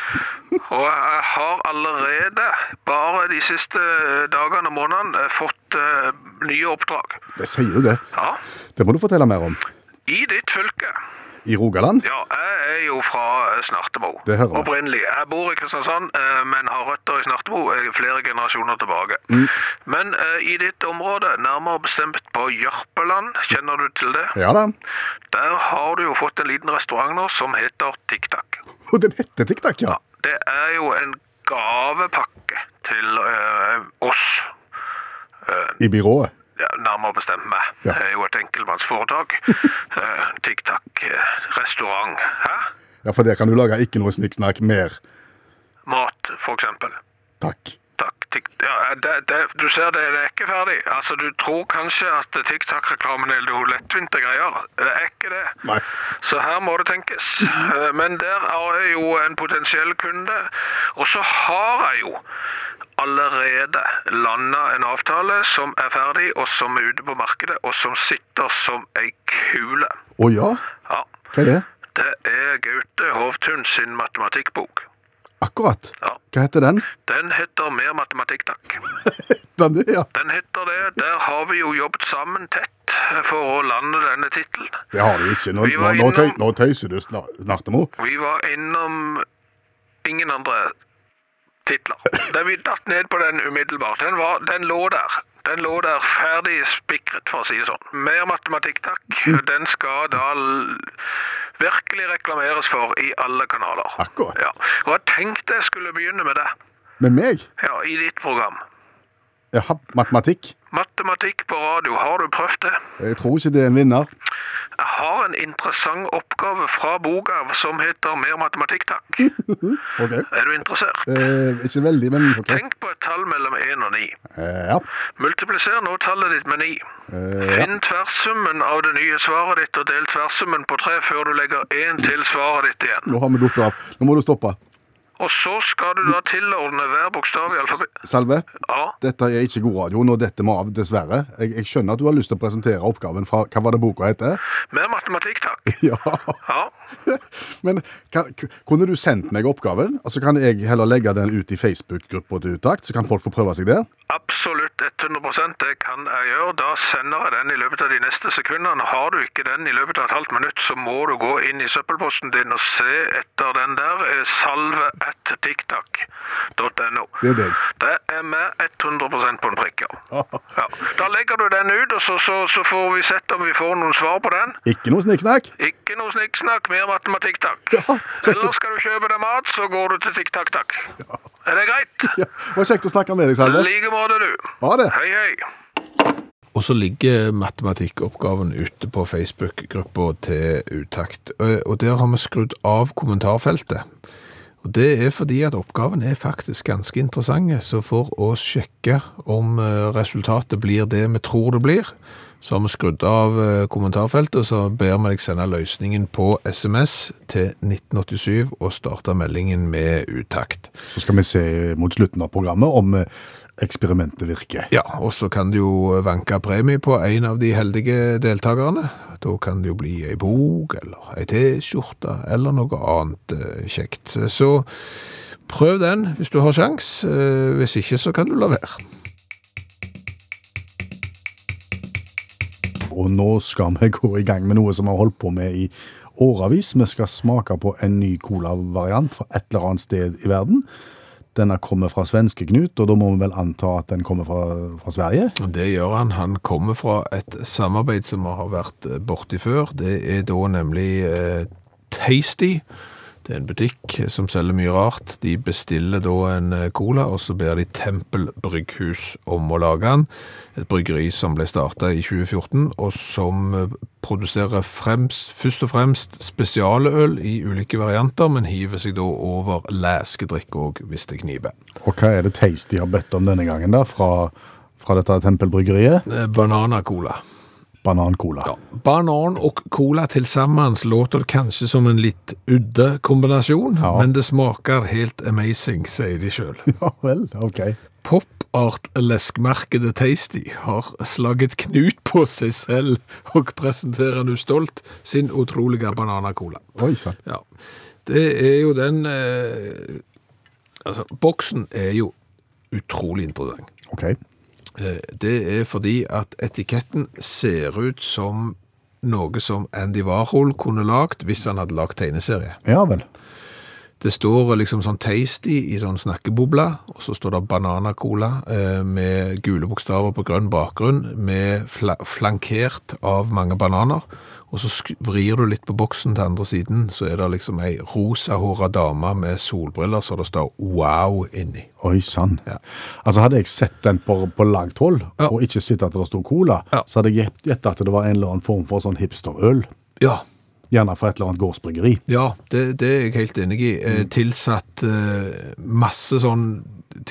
H: Og jeg har allerede, bare de siste eh, dagene og månedene, eh, fått eh, nye oppdrag.
C: Det sier du det.
H: Ja.
C: Det må du fortelle mer om.
H: I ditt fylke.
C: I Rogaland?
H: Ja, jeg er jo fra eh, Snartemo.
C: Det hører jeg.
H: Opprinnelig. Jeg bor i Kristiansand, eh, men har røtter i Snartemo eh, flere generasjoner tilbake.
C: Mm.
H: Men eh, i ditt område, nærmere bestemt på Jørpeland, kjenner du til det?
C: Ja da.
H: Der har du jo fått en liten restaurant nå som heter TikTok.
C: Og den heter TikTok, ja.
H: Det er jo en gavepakke til eh, oss,
C: I byrået.
H: ja, nærmere bestemt meg.
C: Ja.
H: Det er jo et enkeltmannsforetak. Eh, TikTok-restaurant. Hæ?
C: Ja, for der kan du lage ikke noe snikksnakk mer.
H: Mat, for eksempel.
C: Takk.
H: Takk, tikk, ja, eh, det, det, du ser det, det er ikke ferdig. Altså, du tror kanskje at TikTok-reklamen er noe lettvinte greier. Det er ikke det.
C: Nei.
H: Så her må det tenkes. Eh, Men der er jo en potensiell kunde. Og så har jeg jo allerede landa en avtale som er ferdig, og som er ute på markedet, og som sitter som ei kule.
C: Å ja?
H: Ja,
C: Hva er det?
H: det er Gaute Hovtun sin matematikkbok.
C: Akkurat.
H: Ja.
C: Hva heter den?
H: Den heter Mer matematikk, takk.
C: Den der, ja.
H: Den heter det. Der har vi jo jobbet sammen tett for å lande denne tittelen.
C: Det har du ikke. Nå,
H: Vi var
C: nå, nå, tøy,
H: innom-
C: nå tøyser du, Sna- Snartemo.
H: Vi var innom ingen andre titler. Den vi datt ned på den umiddelbart. Den, var, den lå der. Den lå der ferdig spikret, for å si det sånn. Mer matematikk, takk. Den skal da l- virkelig reklameres for i alle kanaler.
C: Akkurat.
H: Ja. Og jeg tenkte jeg skulle begynne med det
C: Med meg?
H: ja, i ditt program.
C: Jaha, matematikk?
H: Matematikk på radio, har du prøvd det?
C: Jeg tror ikke det er en vinner.
H: Jeg har en interessant oppgave fra boka som heter Mer matematikk, takk.
C: Ok.
H: Er du interessert?
C: Eh, ikke veldig, men ok.
H: Tenk på et tall mellom 1 og 9.
C: Eh, ja. Eh,
H: Multipliser nå tallet ditt med 9. Finn tverrsummen av det nye svaret ditt og del tverrsummen på 3 før du legger 1 til svaret ditt igjen.
C: Nå har vi datt av. Nå må du stoppe.
H: Og så skal du da tilordne hver bokstav i alfabet.
C: Salve,
H: Ja,
C: dette er ikke god radio. Nå detter vi av, dessverre. Jeg, jeg skjønner at du har lyst til å presentere oppgaven fra Hva var det boka heter?
H: mer matematikk takk.
C: Ja.
H: Ja,
C: Men kan, k- kunne du sendt meg oppgaven? Altså Kan jeg heller legge den ut i Facebook-gruppa til Utakt, så kan folk få prøve seg der?
H: absolutt 100 det kan jeg gjøre. Da sender jeg den i løpet av de neste sekundene. Har du ikke den i løpet av et halvt minutt, så må du gå inn i søppelposten din og se etter den der eh, salve1tiktak.no.
C: Det er deg.
H: Det er med 100 på en prikk, ja. ja. Da legger du den ut, og så, så, så får vi sett om vi får noen svar på den.
C: Ikke noe snikksnakk?
H: Ikke noe snikksnakk, mer matematikk, takk.
C: Ja, kjekt, å-
H: Ellers skal du kjøpe deg mat, så går du til tikk-takk, takk. Er det greit?
C: ja, det var kjekt å snakke med deg,
H: I
C: Salve.
H: like måte, du.
C: Ha det.
H: Hei, hei.
B: Og så ligger matematikkoppgaven ute på Facebook-gruppa til Utakt. Ø, Og der har vi skrudd av kommentarfeltet. Og Det er fordi at oppgaven er faktisk ganske interessant, så for å sjekke om ø, resultatet blir det vi tror det blir, så har vi skrudd av ø, kommentarfeltet, og så ber vi deg sende løsningen på SMS til 1987 og starte meldingen med Utakt.
C: Så skal vi se mot slutten av programmet om eh, eksperimentet virker.
B: Ja, og så kan du jo vanke premie på en av de heldige deltakerne. Da kan det jo bli ei bok, eller ei T-skjorte, eller noe annet eh, kjekt. Så prøv den hvis du har sjans. Eh, Hvis ikke, så kan du la være.
C: Og nå skal vi gå i gang med noe som vi har holdt på med i årevis. Vi skal smake på en ny colavariant fra et eller annet sted i verden. Denne kommer fra svenske Knut, og da må vi vel anta at den kommer fra, fra Sverige?
B: Og Det gjør han. Han kommer fra et samarbeid som vi har vært eh, borti før. Det er da nemlig eh, Tasty. Det er en butikk som selger mye rart. De bestiller da en eh, cola, og så ber de Tempel Brygghus om å lage den. Et bryggeri som ble starta i 2014, og som eh, produserer fremst, først og fremst spesialøl i ulike varianter, men hiver seg da over læskedrikk òg, hvis det kniper.
C: Og hva er det Tasty har bedt om denne gangen, da? Fra, fra dette tempelbryggeriet?
B: Eh, Bananacola.
C: Banancola.
B: Ja. Banan og cola til sammen låter det kanskje som en litt udde kombinasjon, men det smaker helt amazing, sier de sjøl.
C: Ja vel, ok.
B: Popart-leskmerkedet Tasty har slaget knut på seg selv og presenterer nå stolt sin utrolige bananacola.
C: Oi sann.
B: Ja. Det er jo den eh, Altså, boksen er jo utrolig interessant.
C: Ok.
B: Eh, Det er fordi at etiketten ser ut som noe som Andy Warhol kunne lagt hvis han hadde lagt tegneserie.
C: Ja vel.
B: Det står liksom sånn tasty i sånn snakkebobla, og så står det bananacola eh, med gule bokstaver på grønn bakgrunn, med fla flankert av mange bananer. Og så sk- vrir du litt på boksen til andre siden, så er det liksom ei rosahåra dame med solbriller, så det står wow inni.
C: Oi sann.
B: Ja.
C: Altså Hadde jeg sett den på, på langt hold,
B: Ja.
C: og ikke sett at det sto cola,
B: Ja.
C: så hadde jeg gjett- gjettet at det var en eller annen form for sånn hipsterøl.
B: Ja,
C: Gjerne fra et eller annet gårdsbryggeri.
B: Ja, det, det er jeg helt enig i. Eh, Tilsatt eh, masse sånn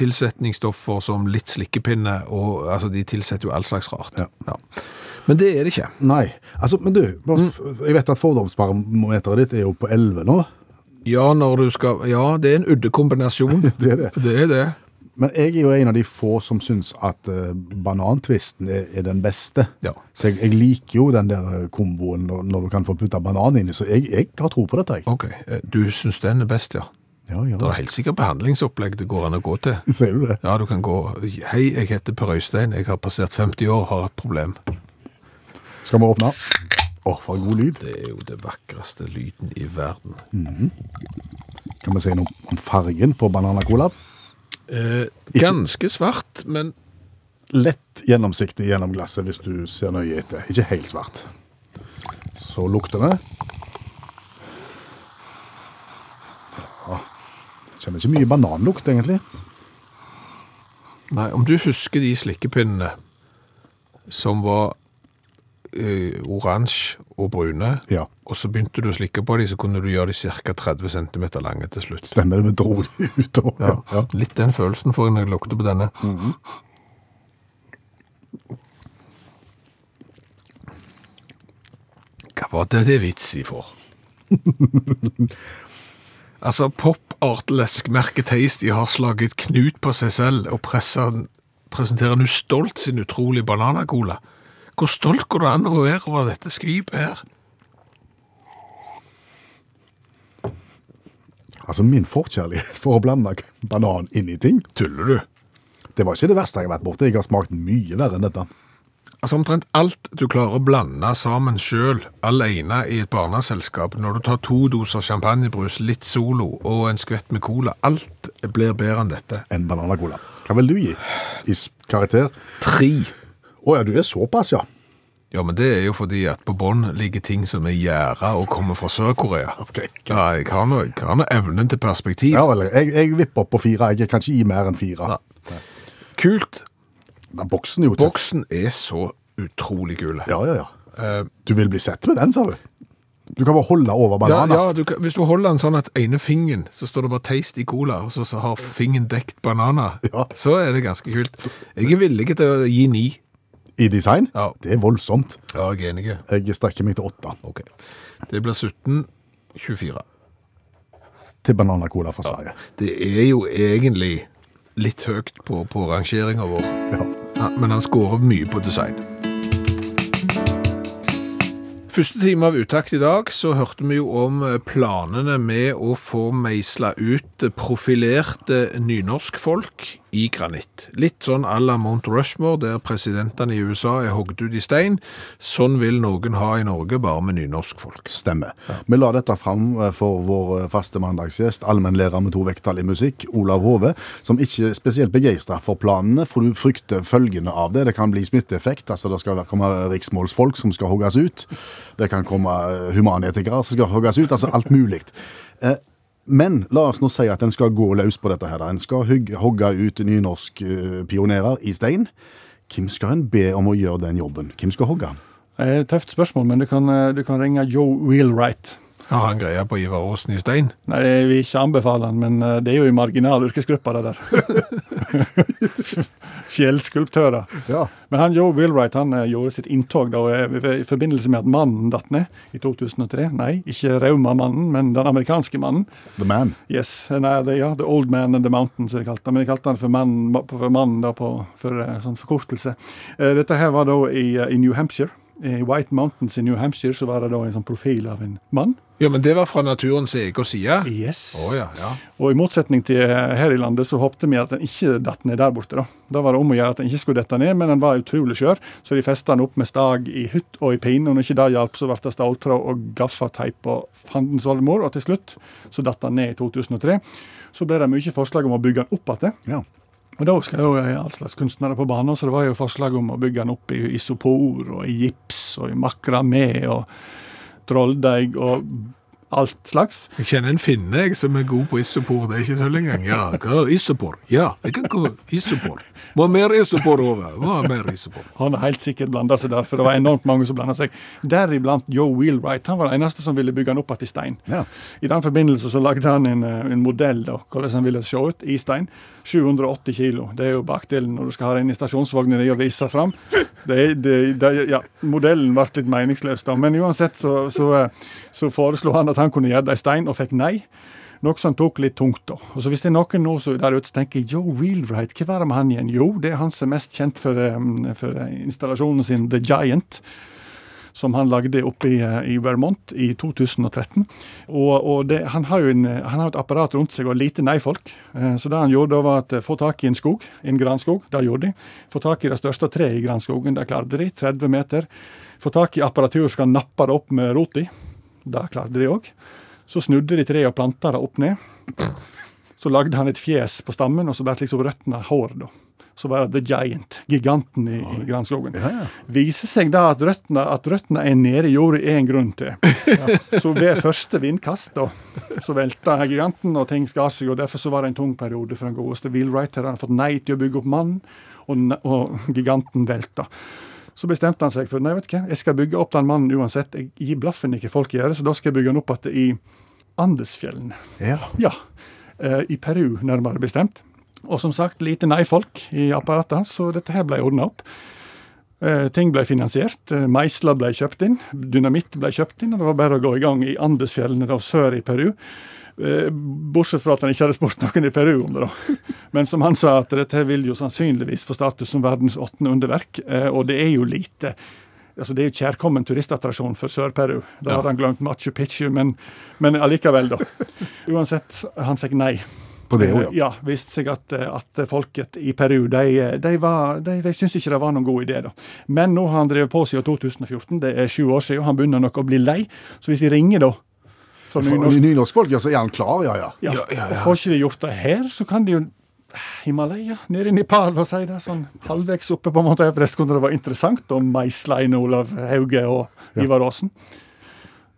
B: tilsetningsstoffer som litt slikkepinne, og altså, de tilsetter jo all slags rart. Ja. Men det er det ikke.
C: Nei. altså, Men du, bare f- jeg vet at fordomsbarometeret ditt er jo på 11 nå.
B: Ja, når du skal, ja det er en uddekombinasjon.
C: Det er det.
B: Det er det.
C: Men jeg er jo en av de få som syns at eh, banantvisten er, er den beste.
B: Ja.
C: Så jeg, jeg liker jo den der eh, komboen når, når du kan få putta banan inni, så jeg, jeg har tro på dette. jeg.
B: Ok, eh, du syns den er best, ja.
C: Ja, ja.
B: Det er helt sikkert behandlingsopplegg det går an å gå til.
C: Sier du det?
B: Ja, du kan gå Hei, jeg heter Per Øystein, jeg har passert 50 år, har et problem.
C: Skal vi åpne? Å, for en god lyd.
B: Det er jo det vakreste lyden i verden.
C: Mm. Kan vi si noe om fargen på Bananacola?
B: Eh, ganske svart, men
C: Lett gjennomsiktig gjennom glasset hvis du ser nøye etter. Ikke helt svart. Så lukter vi. Ja. Kjenner ikke mye bananlukt, egentlig.
B: Nei, om du husker de slikkepinnene som var eh, oransje og brune,
C: Ja.
B: og så begynte du å slikke på dem, så kunne du gjøre de ca. 30 cm lange til slutt.
C: Stemmer det, vi dro det utover. Ja. Ja.
B: Litt den følelsen får jeg når jeg lukter på denne. Hva var det det er vits i for? altså, pop-art-leskmerket Tasty har slaget knut på seg selv og presser- presenterer nå stolt sin utrolige bananacola. Hvor stolt går det an å være over dette skvipet her?
C: Altså, min forkjærlighet for å blande banan inn i ting,
B: Tuller du?
C: det var ikke det verste jeg har vært borte. Jeg har smakt mye verre enn dette.
B: Altså omtrent alt du klarer å blande sammen selv, alene i et barneselskap, når du tar to doser champagnebrus, litt solo og en skvett med cola, alt blir bedre enn dette.
C: enn bananacola. Hva vil du gi i s- karakter?
B: Tre.
C: Å ja, du er såpass, ja.
B: Ja, men det er jo fordi at på bånd ligger ting som er gjæra og kommer fra Sør-Korea.
C: Ok.
B: Ja, jeg har nå jeg har nå evnen til perspektiv.
C: Ja vel, jeg, jeg vipper opp på fire. Jeg kan ikke gi mer enn fire.
B: Kult.
C: Men boksen er jo tøff.
B: Boksen er så utrolig kul.
C: Ja, ja, ja. Du vil bli sett med den, sa du? Du kan bare holde over
B: Eh. Ja,
C: bananer.
B: ja du, kan- hvis du holder den sånn at ene fingeren, så står det bare taste i cola, og så, så har fingeren dekt bananer,
C: Ja.
B: så er det ganske kult. Jeg er villig til å gi ni.
C: I design?
B: Ja.
C: Det er voldsomt.
B: Ja, jeg er enig.
C: Jeg strekker meg til åtte.
B: Ok. Det blir 17, 24.
C: Til bananacola fra Sverige.
B: Det er jo egentlig litt høyt på, på rangeringen vår,
C: Ja.
B: ja, men han skårer mye på design. Første time av uttakt i dag, så hørte vi jo om eh, planene med å få meisla ut eh, profilerte nynorskfolk i granitt. Litt sånn à la Mount Rushmore, der presidentene i USA er hogd ut i stein. Sånn vil noen ha i Norge, bare med nynorskfolk.
C: Stemmer. Vi la dette fram eh, for vår eh, faste mandagsgjest, allmennlærer med to vekttall i musikk, Olav Hove, som ikke er spesielt begeistra for planene, for du frykter følgene av det. Det kan bli smitteeffekt. altså Det skal være- komme riksmålsfolk som skal hogges ut. Det kan komme eh, humanetikere som skal hogges ut. Altså alt mulig. Eh, Men la oss nå si at en skal gå løs på dette. her. da. En skal hygge- hogge ut nynorskpionerer i stein. Hvem skal en be om å gjøre den jobben? Hvem skal hogge?
E: Det er et tøft spørsmål, men du kan, eh, du kan ringe Joe Wheelwright.
B: Har han greia på Ivar Aasen i stein?
E: Nei, jeg vil ikke anbefale han, men eh, det er jo i marginal yrkesgruppa, det der. Fjellskulptører.
C: Ja.
E: Men han Joe Wheelwright han eh, gjorde sitt inntog da, eh, i forbindelse med at mannen datt ned i 2003. Nei, ikke Rauma-mannen, men den amerikanske mannen.
C: The man.
E: Yes, nei, det, ja, The Old Man and the Mountain, som de kalte han. Men de kalte han for Mannen for, mannen da på, for eh, sånn forkortelse. Eh, Dette her var da i, eh, i New Hampshire. I White Mountains i New Hampshire så var det da en sånn profil av en mann.
B: Ja, men det var fra naturens egen side.
E: Yes.
B: Å ja, ja.
E: Og i motsetning til her i landet, så håpte vi at den ikke datt ned der borte. Da Da var det om å gjøre at den ikke skulle dette ned, men den var utrolig skjør, så de festa den opp med stag i hytt og i pine. Og når ikke det hjalp, så ble det ståltråd og gaffateip og fandens oldemor. Og til slutt så datt den ned i 2003. Så ble det mye forslag om å bygge den opp igjen.
C: Ja.
E: Og da skal jo eh, all slags kunstnere på banen, så det var jo forslag om å bygge den opp i isopor og i gips og i makramé og trolldeig og alt slags.
B: Jeg kjenner en finne jeg, som er god på isopor. Det er ikke tull engang. Ja, hva er isopor? Ja, jeg kan komme isopor. Må ha mer isopor, Ove. Må ha mer isopor.
E: Han har helt sikkert blanda seg der, for det var enormt mange som blanda seg. Deriblant Joe Wheelwright. Han var den eneste som ville bygge han opp igjen i stein.
C: Ja.
E: I den forbindelse så lagde han en, eh, en modell da, hvordan han ville se ut i stein. 780 kilo. Det er jo bakdelen når du skal ha den i stasjonsvognen og vise fram. Det, er- det, det, ja, modellen ble litt meningsløs, da. Men uansett så, så, eh, så foreslo han at han kunne gjøre det i stein, og fikk nei. Noe som tok litt tungt, da. Og så Hvis det er noen nå som er der ute som tenker Joe Wheelwright, hva var det med han igjen? Jo, det er han som er mest kjent for, eh, for eh, installasjonen sin The Giant som han lagde oppe i, eh, i Vermont i 2013. Og, og det, han, har jo en, han har et apparat rundt seg og lite nei-folk. Eh, Så det han gjorde da var at eh, få tak i en skog, en granskog, det gjorde de. Få tak i det største treet i granskogen, det klarte de, 30 meter. Få tak i apparatur som kan nappe det opp med rot i. Det klarte de òg. Så snudde de treet og planta det opp ned. Så lagde han et fjes på stammen, og så ble det liksom røttene hår. da. Så var det The Giant, giganten i, i granskogen. Viser seg da at røttene, at røttene er nede i jorda, er en grunn til. Ja. Så ved første vindkast da, så velta giganten, og ting skar seg. og Derfor så var det en tung periode for den godeste Wheelwright. Han hadde fått nei til å bygge opp mannen, og, ne- og giganten velta. Så bestemte han seg for nei, vet du hva, jeg skal bygge opp den mannen uansett. Jeg gir blaffen i hva folk gjør, så da skal jeg bygge han opp igjen i Andesfjellene.
C: Ja.
E: Ja, eh, i Peru nærmere bestemt. Og som sagt, lite nei-folk i apparatet hans, så dette her ble ordna opp. Eh, ting ble finansiert, eh, meisler ble kjøpt inn, dynamitt ble kjøpt inn, og det var bare å gå i gang i Andesfjellene da, sør i Peru. Eh, bortsett fra at han ikke hadde spurt noen i Peru om det, da. Men som han sa, at dette vil jo sannsynligvis få status som verdens åttende underverk, eh, og det er jo lite altså Det er jo kjærkommen turistattraksjon for Sør-Peru. Da hadde han glemt Machu Picchu, men, men allikevel, da. Uansett, han fikk nei.
C: På det òg, ja.
E: Eh, Ja, viste seg at, eh, at folket i Peru de, eh, de, var, de, de syntes ikke det var noen god idé. da. Men nå har han drevet på siden 2014, det er sju år siden, og han begynner nok å bli lei. Så hvis de ringer, da fra
C: For
E: nynorsk,
C: Nynorskfolk, ja, så er han klar, ja, ja.
E: ja, og Får ikke de gjort det her, så kan de jo eh, Himalaya, nede i Nepal, og si det sånn halvveis oppe på Mount Everest. Kunne det være interessant om meislein Olav Hauge og Ivar Aasen?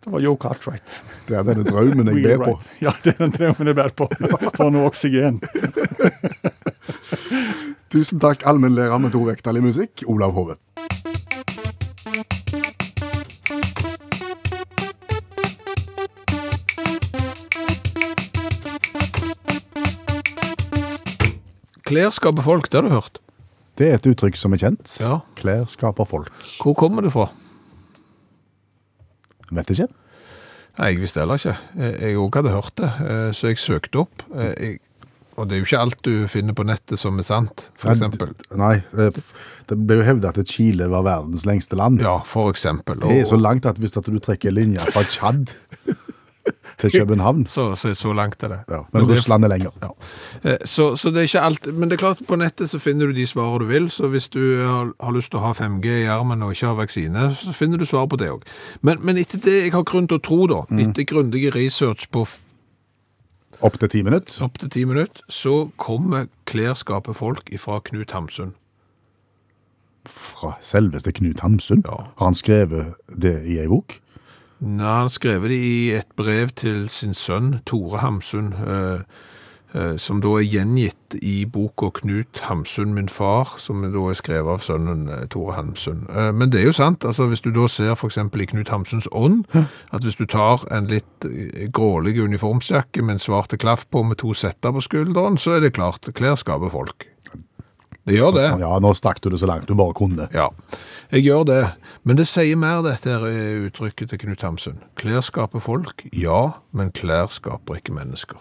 E: Det var Joe Cartwright.
C: Det er denne drømmen jeg ber på.
E: Wheelwright. Ja, det er den drømmen jeg bærer på. Få noe oksygen.
C: Tusen takk, allmennlærer med to vekttall i musikk, Olav Hove.
B: Klær skaper folk, det har du hørt.
C: Det er et uttrykk som er kjent.
B: Ja.
C: Klær skaper folk.
B: Hvor kommer det fra?
C: Vet ikke.
B: Nei, jeg visste heller ikke. Jeg- Jeg òg hadde hørt det, eh, så jeg søkte opp. Eh, Jeg, og det er jo ikke alt du finner på nettet som er sant, for
C: Nei,
B: eksempel.
C: d- Nei, eh, f- det ble jo hevdet at Chile var verdens lengste land.
B: Ja, for eksempel.
C: Det er så
B: Og,
C: langt at hvis at du trekker linja fra Tsjad til København,
B: så, så, så langt er det.
C: ja,
B: Men
C: men
B: det-
C: Russland er lenger.
B: Ja. Eh, Så, så det er ikke alt, men det er klart på nettet så finner du de svarene du vil, så hvis du har, har lyst til å ha 5G i armen og ikke har vaksine, så finner du svar på det også. Men, men etter det jeg har grunn til å tro da, etter grundige research på f-
C: Opp til ti minutter.
B: opp til 10 minutter, så kommer klærskapet folk ifra Knut Hamsun.
C: Fra selveste Knut Hamsun.
B: Ja.
C: Har han skrevet det i ei bok?
B: Nei, han skrev det i et brev til sin sønn, Tore Hamsun, eh, eh, som da er gjengitt i boka Knut Hamsun, min far, som da er skrevet av sønnen eh, Tore Hamsun. Eh, men det er jo sant, altså hvis du da ser for eksempel i Knut Hamsuns ånd, at hvis du tar en litt eh, grålig uniformsjakke med en svarte klaff på med to setter på skulderen, så er det klart, klær skaper folk. Det gjør det.
C: Ja, nå stakk du det så langt du bare kunne.
B: Ja, jeg gjør det. Men det sier mer dette her eh, uttrykket til Knut Hamsun. Klær skaper folk, ja, men klær skaper ikke mennesker.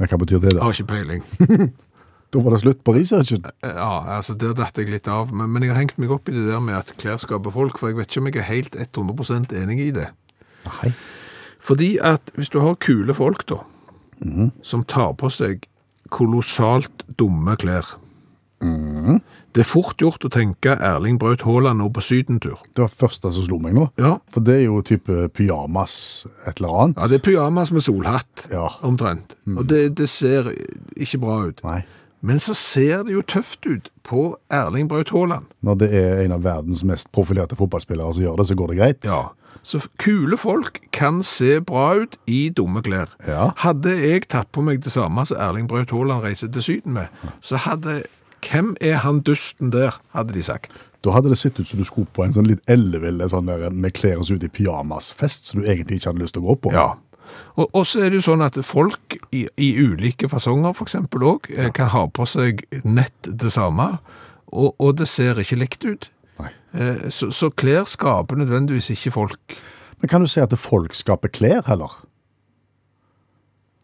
C: Ja, Hva betyr det,
B: Jeg
C: da?
B: har ikke peiling.
C: Da var det slutt på researchen.
B: Ja, altså Der datt jeg litt av, men, men jeg har hengt meg opp i det der med at klær skaper folk, for jeg vet ikke om jeg er helt 100 enig i det.
C: Nei.
B: Fordi at hvis du har kule folk, da, som tar på seg kolossalt dumme klær Det er fort gjort å tenke Erling Braut Haaland nå på sydentur.
C: Det var første som slo meg nå.
B: Ja,
C: For det er jo type pyjamas, et eller annet.
B: Ja, det er pyjamas med solhatt,
C: Ja. Mm.
B: omtrent. Og det, det ser ikke bra ut.
C: Nei.
B: Men så ser det jo tøft ut på Erling Braut Haaland.
C: Når det er en av verdens mest profilerte fotballspillere som gjør det, så går det greit.
B: Så f- kule folk kan se bra ut i dumme klær.
C: Ja.
B: Hadde jeg tatt på meg det samme som Erling Braut Haaland reiser til Syden med, så hadde Hvem er han dusten der, hadde de sagt.
C: Da hadde det sett ut som du skulle på en sånn litt elleville sånn der, med klær og så ut i pyjamasfest som du egentlig ikke hadde lyst til å gå på.
B: Ja. Og, og så er det jo sånn at folk i, i ulike fasonger for eksempel også, eh, kan ha på seg nett det samme, og, og det ser ikke likt ut.
C: Nei.
B: Eh, Så, så klær skaper nødvendigvis ikke folk.
C: Men kan du si at folk skaper klær, heller?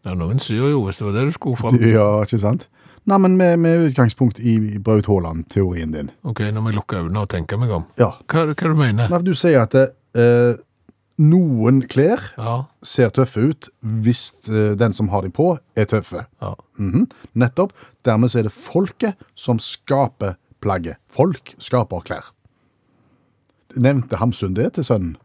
B: Ja, noen syr jo, hvis det var det du skulle fram.
E: Ja, ikke sant? Nei, men med, med utgangspunkt i Braut Haaland-teorien din.
B: Ok, nå må jeg lukke øynene og tenke meg om.
E: Ja.
B: Hva, hva du mener?
E: Nei, for du sier at eh, noen klær
B: Ja,
E: ser tøffe ut hvis eh, den som har de på, er tøffe.
B: ja.
E: Mhm, Nettopp. Dermed så er det folket som skaper plagget. Folk skaper klær. Nevnte Hamsun det til sønnen?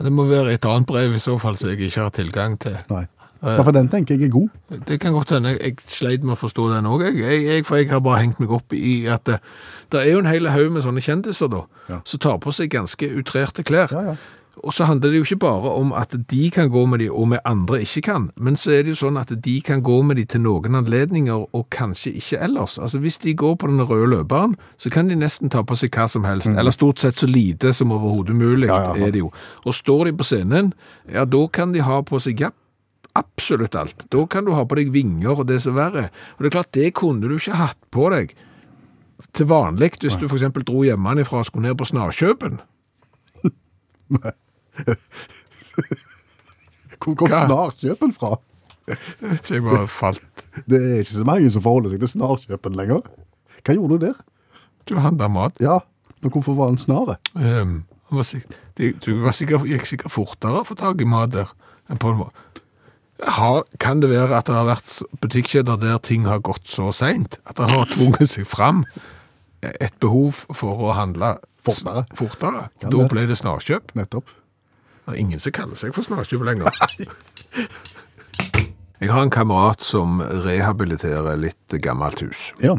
B: Det må være et annet brev i så fall som jeg ikke har tilgang til.
E: Nei. Ja, for den tenker jeg er god.
B: Det kan godt hende. Jeg- Jeg sleit med å forstå den òg, jeg. Jeg, jeg. For jeg har bare hengt meg opp i at det, det er jo en hel haug med sånne kjendiser, da,
E: Ja.
B: som tar på seg ganske utrerte klær.
E: ja.
B: Og så handler det jo ikke bare om at de kan gå med de, og vi andre ikke kan. Men så er det jo sånn at de kan gå med de til noen anledninger, og kanskje ikke ellers. Altså Hvis de går på den røde løperen, så kan de nesten ta på seg hva som helst. Eller stort sett så lite som overhodet mulig
E: Mhm. Ja, ja.
B: er det jo. Og står de på scenen, ja, da kan de ha på seg japp. Absolutt alt. Da kan du ha på deg vinger og det som verre. Og det er klart, det kunne du ikke hatt på deg til vanlig hvis du for eksempel dro hjemmefra og skulle ned på Snarkjøpen.
E: Hvor kom
B: Hva?
E: snarkjøpen fra?
B: Jeg bare falt
E: Det er ikke så mange som forholder seg til snarkjøpen lenger. Hva gjorde du der?
B: Du handla mat.
E: Ja, men hvorfor var han snare?
B: Ehm, han var sik- de- du var sikkert, gikk sikkert fortere å få tak i mat der. enn på en må- Har, kan det være at det har vært butikkjeder der ting har gått så seint? At det har tvunget seg fram et behov for å handle s-
E: Fortere.
B: fortere.
E: Kan
B: Da
E: det.
B: ble det snarkjøp.
E: Nettopp.
B: Det er ingen som kaller seg for snarkjøp lenger. Jeg har en kamerat som rehabiliterer litt gammelt hus.
E: Ja.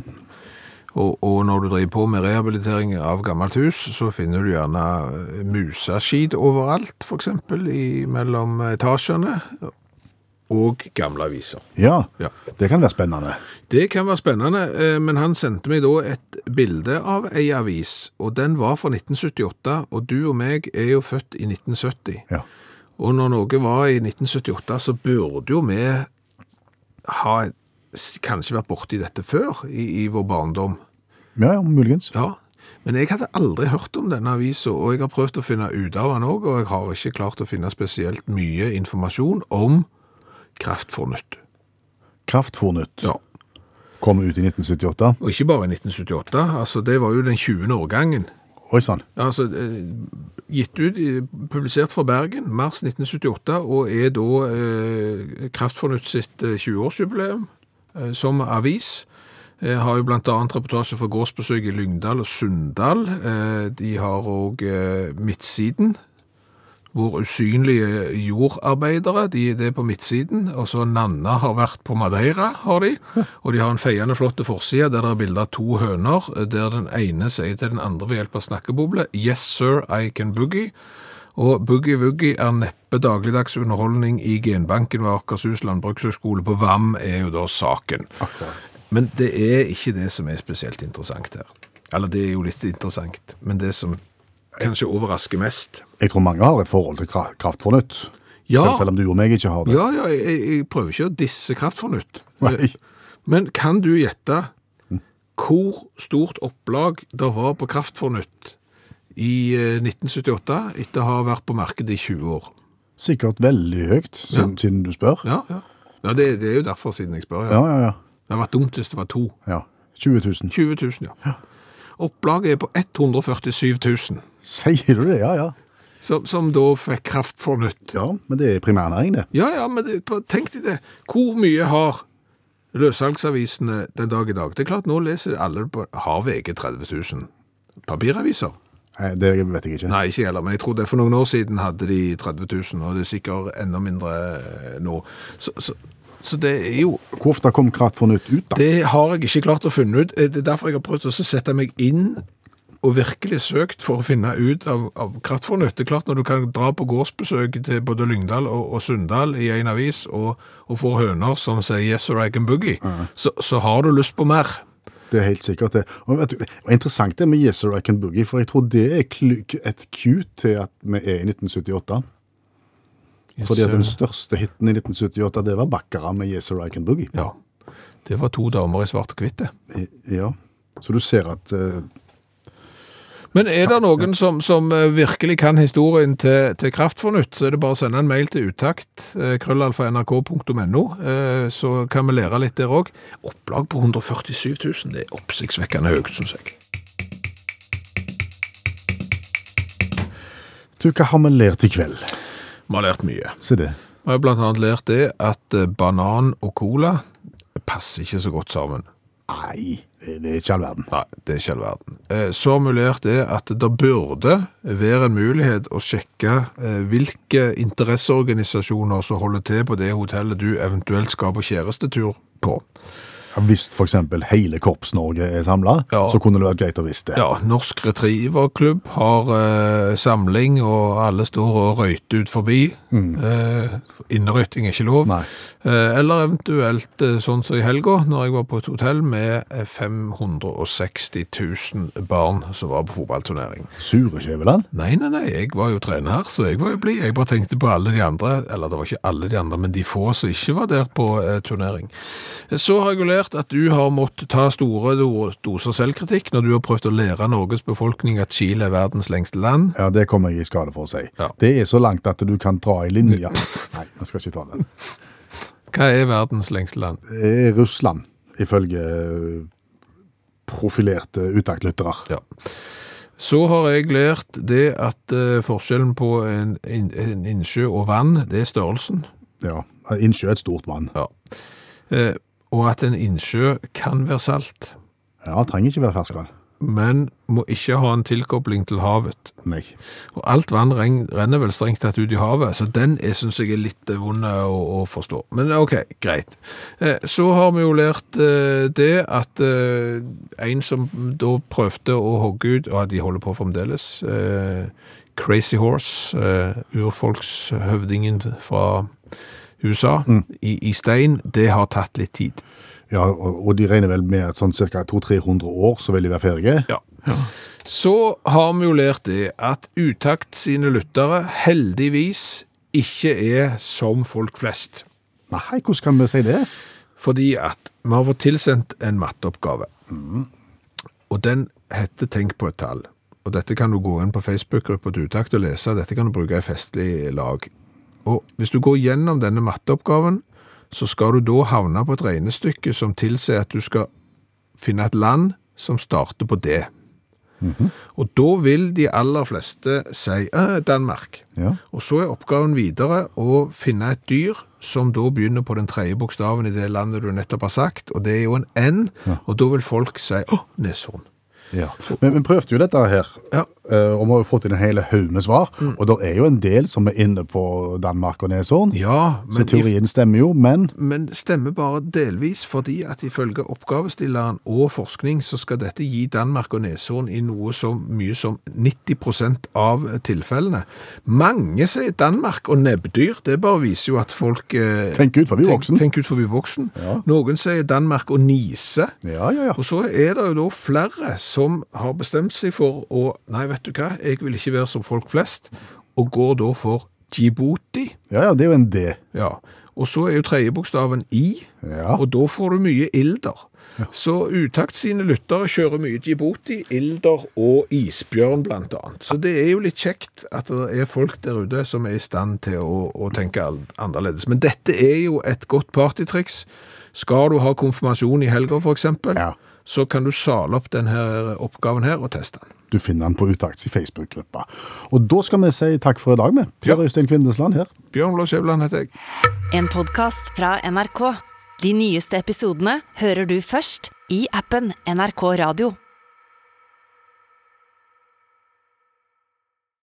B: Og, og når du driver på med rehabilitering av gammelt hus, så finner du gjerne eh, museskid overalt, for eksempel, i, mellom etasjene, og gamle aviser.
E: ja.
B: Ja.
E: Det kan være spennende.
B: Det kan være spennende, eh, men han sendte meg da et bilde av ei avis, og den var fra 1978, og du og meg er jo født i 1970.
E: Ja.
B: Og når Norge var i 1978, så burde jo vi ha s- kanskje vært borti dette før, i, i vår barndom.
E: Ja, ja, muligens.
B: Ja, men jeg hadde aldri hørt om denne avisen, og jeg har prøvd å finne ut av den òg, og jeg har ikke klart å finne spesielt mye informasjon om Kraft for nytt.
E: Kraftfôrnytt
B: Ja.
E: kom ut i 1978.
B: Og ikke bare i 1978, altså det var jo den 20. årgangen.
E: Oi sånn. sann.
B: Altså, eh, gitt ut, eh, publisert fra Bergen, mars 1978, og er da eh, Kraft for nytt sitt eh, 20-årsjubileum eh, som avis. Eh, har jo blant annet reportasje fra gårdsbesøk i Lyngdal og Sunndal. Eh, de har òg eh, Midtsiden. Vår usynlige jordarbeidere, de, det er på midtsiden. Og så Nanna har vært på Madeira, har de. Og de har en feiende flott forside der det er bilde av to høner, der den ene sier til den andre ved hjelp av snakkeboble 'Yes, sir, I can boogie'. Og Boogie Woogie er neppe dagligdags underholdning i genbanken ved Akershus landbrukshøgskole på VAM, er jo da saken. Men det er ikke det som er spesielt interessant her. Eller det er jo litt interessant, men det som kanskje overrasker mest
E: Jeg tror mange har et forhold til Kra- Kraftfôrnytt.
B: Ja.
E: Selv, selv om du og meg ikke har det.
B: Ja, ja, jeg, jeg- jeg prøver ikke å disse Kraft for nytt.
E: Nei.
B: Men kan du gjette hvor stort opplag det var på Kraft for nytt i eh, 1978, etter å ha vært på markedet i 20 år?
E: Sikkert veldig høyt, siden, siden du spør.
B: Ja, ja. ja det, det er jo derfor siden jeg spør. Ja.
E: ja, ja. ja.
B: Det hadde vært dumt hvis det var to.
E: ja. 20 000.
B: 20 000, ja. Opplaget er på 147 000,
E: Sier du det? Ja, ja.
B: som, som da fikk Kraft for nytt.
E: Ja, Men det er primærnæring, det.
B: Ja, ja, men det, på- tenk deg det. Hvor mye har løssalgsavisene den dag i dag? Det er klart, nå leser alle på Har VG 30 000 papiraviser?
E: Nei, Det vet jeg ikke.
B: Nei, ikke heller, men jeg tror det for noen år siden hadde de 30 000, og det er sikkert enda mindre eh, nå. Så, så, så det er jo
E: Hvor ofte kom Kraftfôrnytt ut, da?
B: Det har jeg ikke klart å finne ut. Eh, Det er derfor jeg har prøvd å sette meg inn og virkelig søkt for å finne ut av, av kraftfornøtt. Det er klart når du kan dra på gårdsbesøk til både Lyngdal og, og Sunndal i en avis og, og får høner som sier 'yes or I can boogie', så, så har du lyst på mer.
E: Det er helt sikkert det. Og vet du, og interessant det med Yes or I Can Boogie, for jeg tror det er kl- et cue til at vi er i 1978. Fordi at den største hiten i 1978, det var Baccarat med Yes or I Can Boogie.
B: Ja. Det var to damer i svart og hvitt, det.
E: I- Ja. Så du ser at eh,
B: Men er det noen som, som eh, virkelig kan historien til, til Kraft for nytt, så er det bare å sende en mail til utakt, eh, krøllalfa.nrk.no, eh, så kan vi lære litt der òg. Opplag på 147 000, det er oppsiktsvekkende høyt, syns jeg.
C: Du, hva har vi lært i kveld?
B: Vi har lært mye.
C: Se det.
B: Vi har blant annet lært det at eh, banan og cola passer ikke så godt sammen.
C: Nei, det det er ikke all verden.
B: Nei, det er ikke all verden. Eh, Så har vi lært det at det burde være en mulighet å sjekke eh, hvilke interesseorganisasjoner som holder til på det hotellet du eventuelt skal på kjærestetur på.
C: Ja, Hvis for eksempel hele Korps-Norge er samla,
B: Ja.
C: så kunne det vært greit å visst det.
B: Ja, Norsk Retrieverklubb har eh, samling, og alle står og røyter ut forbi. Eh, innerøyting er ikke lov.
C: Nei.
B: Eh, eller eventuelt eh, sånn som i helga, når jeg var på et hotell med eh, 560 000 barn som var på fotballturnering.
C: Sure Skjæveland?
B: Nei, nei, nei, jeg var jo trener her, så jeg var jo blid. Jeg bare tenkte på alle de andre, eller det var ikke alle de andre, men de få som ikke var der på eh, turnering. Så har jeg jo lært at du har måttet ta store do- doser selvkritikk når du har prøvd å lære Norges befolkning at Chile er verdens lengste land.
C: Ja, det kommer jeg i skade for å si.
B: Ja.
C: Det er så langt at du kan dra i linja. Nei, jeg skal ikke ta den.
B: Hva er verdens lengste land?
C: Det er Russland, ifølge profilerte utaktlyttere.
B: Ja. Så har jeg lært det at eh, forskjellen på en, inn- en innsjø og vann, det er størrelsen.
C: Ja. Innsjø er et stort vann.
B: Ja. Eh, og at en innsjø kan være salt.
C: Ja, trenger ikke være ferskvann.
B: men må ikke ha en tilkobling til havet.
C: Nei.
B: Og alt vann reng- renner vel strengt tatt ut i havet, så den er- synes jeg er litt eh, vond å, å forstå. Men ok, greit. Eh, Så har vi jo lært eh, det at eh, en som da prøvde å hogge ut, og de holder på fremdeles, eh, Crazy Horse, eh, urfolkshøvdingen fra USA, i, i stein, det har tatt litt tid.
C: Ja, og og de regner vel med at sånn ca. 200-300 år så vil de være ferdige.
B: Ja. Så har vi jo lært det at utakt sine lyttere heldigvis ikke er som folk flest.
C: Nei, hvordan kan vi si det?
B: Fordi at vi har fått tilsendt en matteoppgave. Og den heter 'Tenk på et tall'. Og dette kan du gå inn på Facebook-gruppa til utakt og lese. Dette kan du bruke i festlig lag. Og hvis du går gjennom denne matteoppgaven, så skal du da havne på et regnestykke som tilsier at du skal finne et land som starter på det. Og da vil de aller fleste si «Eh, Danmark.
C: Ja.
B: Og så er oppgaven videre å finne et dyr som da begynner på den tredje bokstaven i det landet du nettopp har sagt, og det er jo en N, og da vil folk si åh, neshorn.
C: Ja. Men vi prøvde jo dette her,
B: Ja.
C: eh, og vi har jo fått inn en hel haug med svar. Og det er jo en del som er inne på Danmark og Neshorn,
B: Ja,
C: så
B: men, i,
C: teorien stemmer jo, men
B: men stemmer bare delvis, fordi at ifølge oppgavestilleren og forskning så skal dette gi Danmark og neshorn i noe så mye som 90 av tilfellene. Mange sier Danmark og nebbdyr, det bare viser jo at folk eh,
C: tenk ut, for vi er voksen.
B: Tenk, tenk ut forbi boksen. Noen sier Danmark og nise.
C: Ja, ja, ja.
B: Og så er det jo da flere som har bestemt seg for å Nei, vet du hva, jeg vil ikke være som folk flest, og går da for Djibouti.
C: Ja, ja, det er jo en D.
B: Ja. Og så er jo tredje bokstaven I,
C: Ja.
B: og da får du mye ilder. Så Utakt sine lyttere kjører mye Djibouti, ilder og isbjørn blant annet. Så det er jo litt kjekt at det er folk der ute som er i stand til å, å tenke all- annerledes. Men dette er jo et godt partytriks. Skal du ha konfirmasjon i helga for eksempel,
C: Ja.
B: så kan du sale opp denne oppgaven her og teste den.
C: Du finner den på Utakts i Facebook-gruppa. Og da skal vi si takk for i dag, vi.
B: Ja.
C: Per Øystein Kvindesland her.
B: Bjørn Lars Skjæveland heter jeg.
A: En podkast fra NRK. De nyeste episodene hører du først i appen NRK Radio.